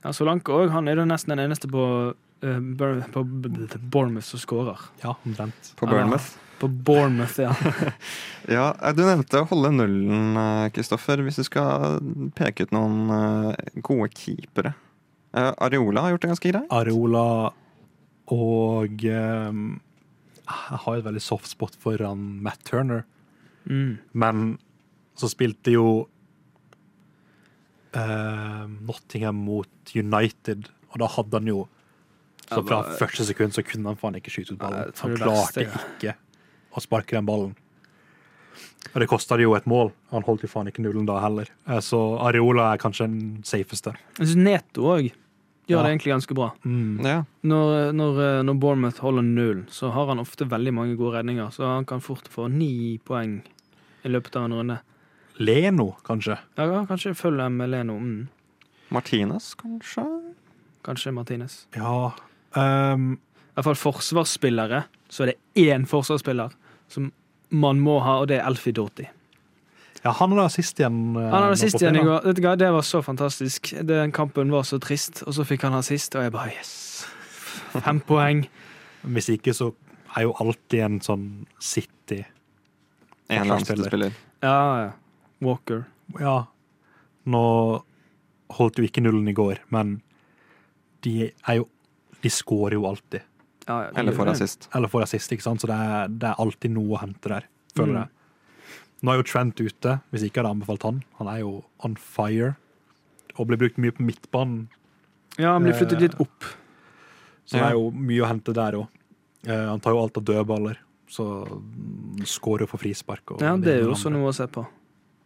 Speaker 3: Ja, Solanke òg. Han er jo nesten den eneste på, eh, Bur- på B- B- B- Bournemouth som skårer.
Speaker 2: Ja, omtrent.
Speaker 1: På Bournemouth.
Speaker 3: På Bournemouth, ja.
Speaker 1: Ja, eh, Du nevnte å holde nullen, eh, Kristoffer. Hvis du skal peke ut noen eh, gode keepere Eh, Areola har gjort det ganske greit.
Speaker 2: Areola og ehm, Jeg har et veldig soft spot for han Matt Turner,
Speaker 3: Mm.
Speaker 2: men så spilte jo ehm, Nottingham mot United, og da hadde han jo Så
Speaker 3: Ja,
Speaker 2: fra
Speaker 3: da-
Speaker 2: første sekund så kunne han faen ikke skyte ut ballen.
Speaker 3: jeg tror
Speaker 2: Han
Speaker 3: det verste,
Speaker 2: klarte ikke å sparke den ballen. Og det kosta jo et mål. Han holdt jo faen ikke nullen da heller. Eh, Så Areola er kanskje den safeste.
Speaker 3: Jeg synes Neto òg gjør
Speaker 2: Ja.
Speaker 3: det egentlig ganske bra.
Speaker 1: Ja.
Speaker 3: Når, eh, når, når Bournemouth holder nullen, så har han ofte veldig mange gode redninger, så han kan fort få ni poeng i løpet av en runde.
Speaker 2: Leno, kanskje.
Speaker 3: Ja, ja, kanskje følg dem med Leno. Mm.
Speaker 1: Martinez, kanskje?
Speaker 3: Kanskje Martinez.
Speaker 2: Ja ehm,
Speaker 3: I hvert fall forsvarsspillere, så er det én forsvarsspiller som man må ha, og det er Elfie Dorty.
Speaker 2: ja, han hadde assist igjen. eh,
Speaker 3: Han
Speaker 2: nå
Speaker 3: hadde
Speaker 2: på
Speaker 3: sist igjen i
Speaker 2: fredag.
Speaker 3: går. Vet du hva, Det var så fantastisk. Den kampen var så trist, og så fikk han ha sist, og jeg bare yes! Fem poeng.
Speaker 2: Hvis ikke, så er jo alltid en sånn City
Speaker 1: En
Speaker 2: Forsvarsspiller.
Speaker 1: landslagsspiller.
Speaker 3: Ja, ja. Walker.
Speaker 2: Ja, nå holdt jo ikke nullen i går, men de er jo De skårer jo alltid.
Speaker 3: Ja, ja.
Speaker 1: Eller for assist.
Speaker 2: Eller får assist, ikke sant? Så det er, det er alltid noe å hente der, føler
Speaker 3: Mm.
Speaker 2: jeg. Nå er jo Trent ute, hvis ikke hadde jeg anbefalt han. Han er jo on fire, og blir brukt mye på midtbanen.
Speaker 3: Mm. Ja, han blir flyttet
Speaker 2: Eh,
Speaker 3: litt opp.
Speaker 2: Så det er jo mye å hente der òg. Han tar jo alt av dødballer, så mm, skårer for frispark. Og
Speaker 3: Ja,
Speaker 2: det
Speaker 3: Det er
Speaker 2: ene
Speaker 3: jo
Speaker 2: og
Speaker 3: også
Speaker 2: andre.
Speaker 3: noe å se på.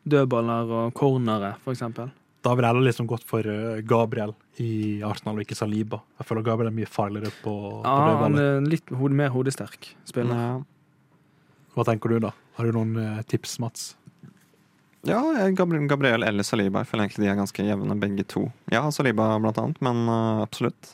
Speaker 3: Dødballer og cornere, for eksempel.
Speaker 2: Da ville jeg heller liksom gått for eh, Gabriel i Arsenal, og ikke Saliba. Jeg føler Gabriel er mye farligere på, på
Speaker 3: Ja, han
Speaker 2: dødballer. Mm.
Speaker 3: er litt hode, mer hodesterk spiller.
Speaker 1: Ja.
Speaker 2: Hva tenker du, da? Har du noen eh, tips, Mats?
Speaker 1: Ja, jeg- Gabri- Gabriel eller Saliba. Jeg føler egentlig de er ganske jevne, begge to. Jeg har Saliba, blant annet, men øh, absolutt.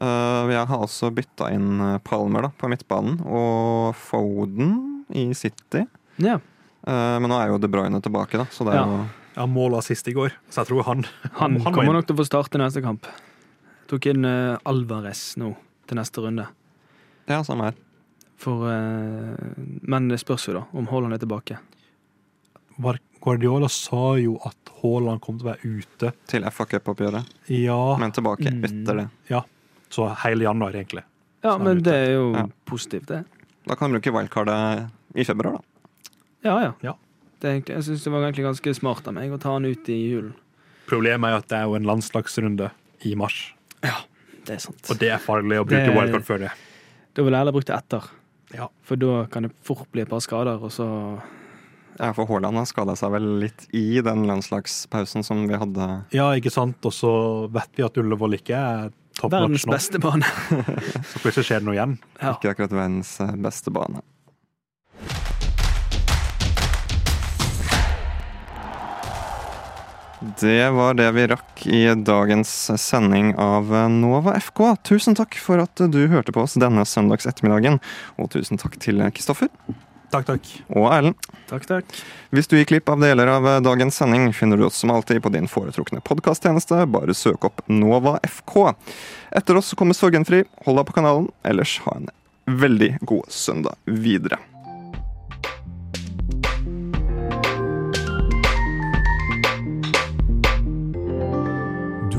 Speaker 1: Øh, jeg har også bytta inn øh, Palmer da, på midtbanen, og Foden i City.
Speaker 3: Ja,
Speaker 1: Øh, men nå er jo De Bruyne tilbake, da, så det er
Speaker 3: Ja.
Speaker 1: jo
Speaker 2: Ja, mål og assist i går, så jeg tror han
Speaker 3: Han
Speaker 2: må
Speaker 3: kommer
Speaker 2: inn.
Speaker 3: nok til å få starte neste kamp. Tok inn eh, Alvarez nå, til neste runde.
Speaker 1: Ja, samme her.
Speaker 3: For, eh, men det spørs jo, da, om Haaland er tilbake.
Speaker 2: Var- Guardiola sa jo at Haaland kom til å være ute.
Speaker 1: Til FA Cup-oppgjøret.
Speaker 2: Ja,
Speaker 1: Men tilbake
Speaker 3: Mm.
Speaker 1: etter det.
Speaker 2: så hele januar, egentlig.
Speaker 3: Ja,
Speaker 2: Så han er
Speaker 3: men
Speaker 2: ute.
Speaker 3: det er jo
Speaker 1: Ja.
Speaker 3: positivt, det.
Speaker 1: Da kan du bruke wildcardet i februar, da.
Speaker 3: Ja, ja.
Speaker 2: Ja.
Speaker 3: Det er egentlig, jeg syns det var egentlig ganske smart av meg å ta han ut i julen.
Speaker 2: Problemet er jo at det er jo en landslagsrunde i mars,
Speaker 3: Det er sant.
Speaker 2: og det er farlig å bruke
Speaker 3: Det-
Speaker 2: wildcard før det.
Speaker 3: Da vil jeg heller bruke det etter.
Speaker 2: Ja.
Speaker 3: For da kan det fort bli et par skader, og så
Speaker 1: Ja, for Haaland har skada seg vel litt i den landslagspausen som vi hadde.
Speaker 2: Ja, ikke sant? Og så vet vi at Ullevål ikke er top notch
Speaker 3: Verdens
Speaker 2: nå,
Speaker 3: beste bane.
Speaker 2: så plutselig skjer det noe igjen.
Speaker 3: Ja.
Speaker 1: Ikke akkurat verdens øh, beste bane. Det var det vi rakk i dagens sending av eh, Nova FK. Tusen takk for at du hørte på oss denne søndags ettermiddagen. Og tusen takk til eh, Kristoffer
Speaker 2: Takk, takk.
Speaker 1: og Erlend.
Speaker 3: Takk, takk.
Speaker 1: Hvis du gikk glipp av deler av eh, dagens sending, finner du oss som alltid på din foretrukne podkasttjeneste. Bare søk opp Nova FK. Etter oss kommer Sorgenfri. Hold deg på kanalen. Ellers ha en veldig god søndag videre.
Speaker 12: Du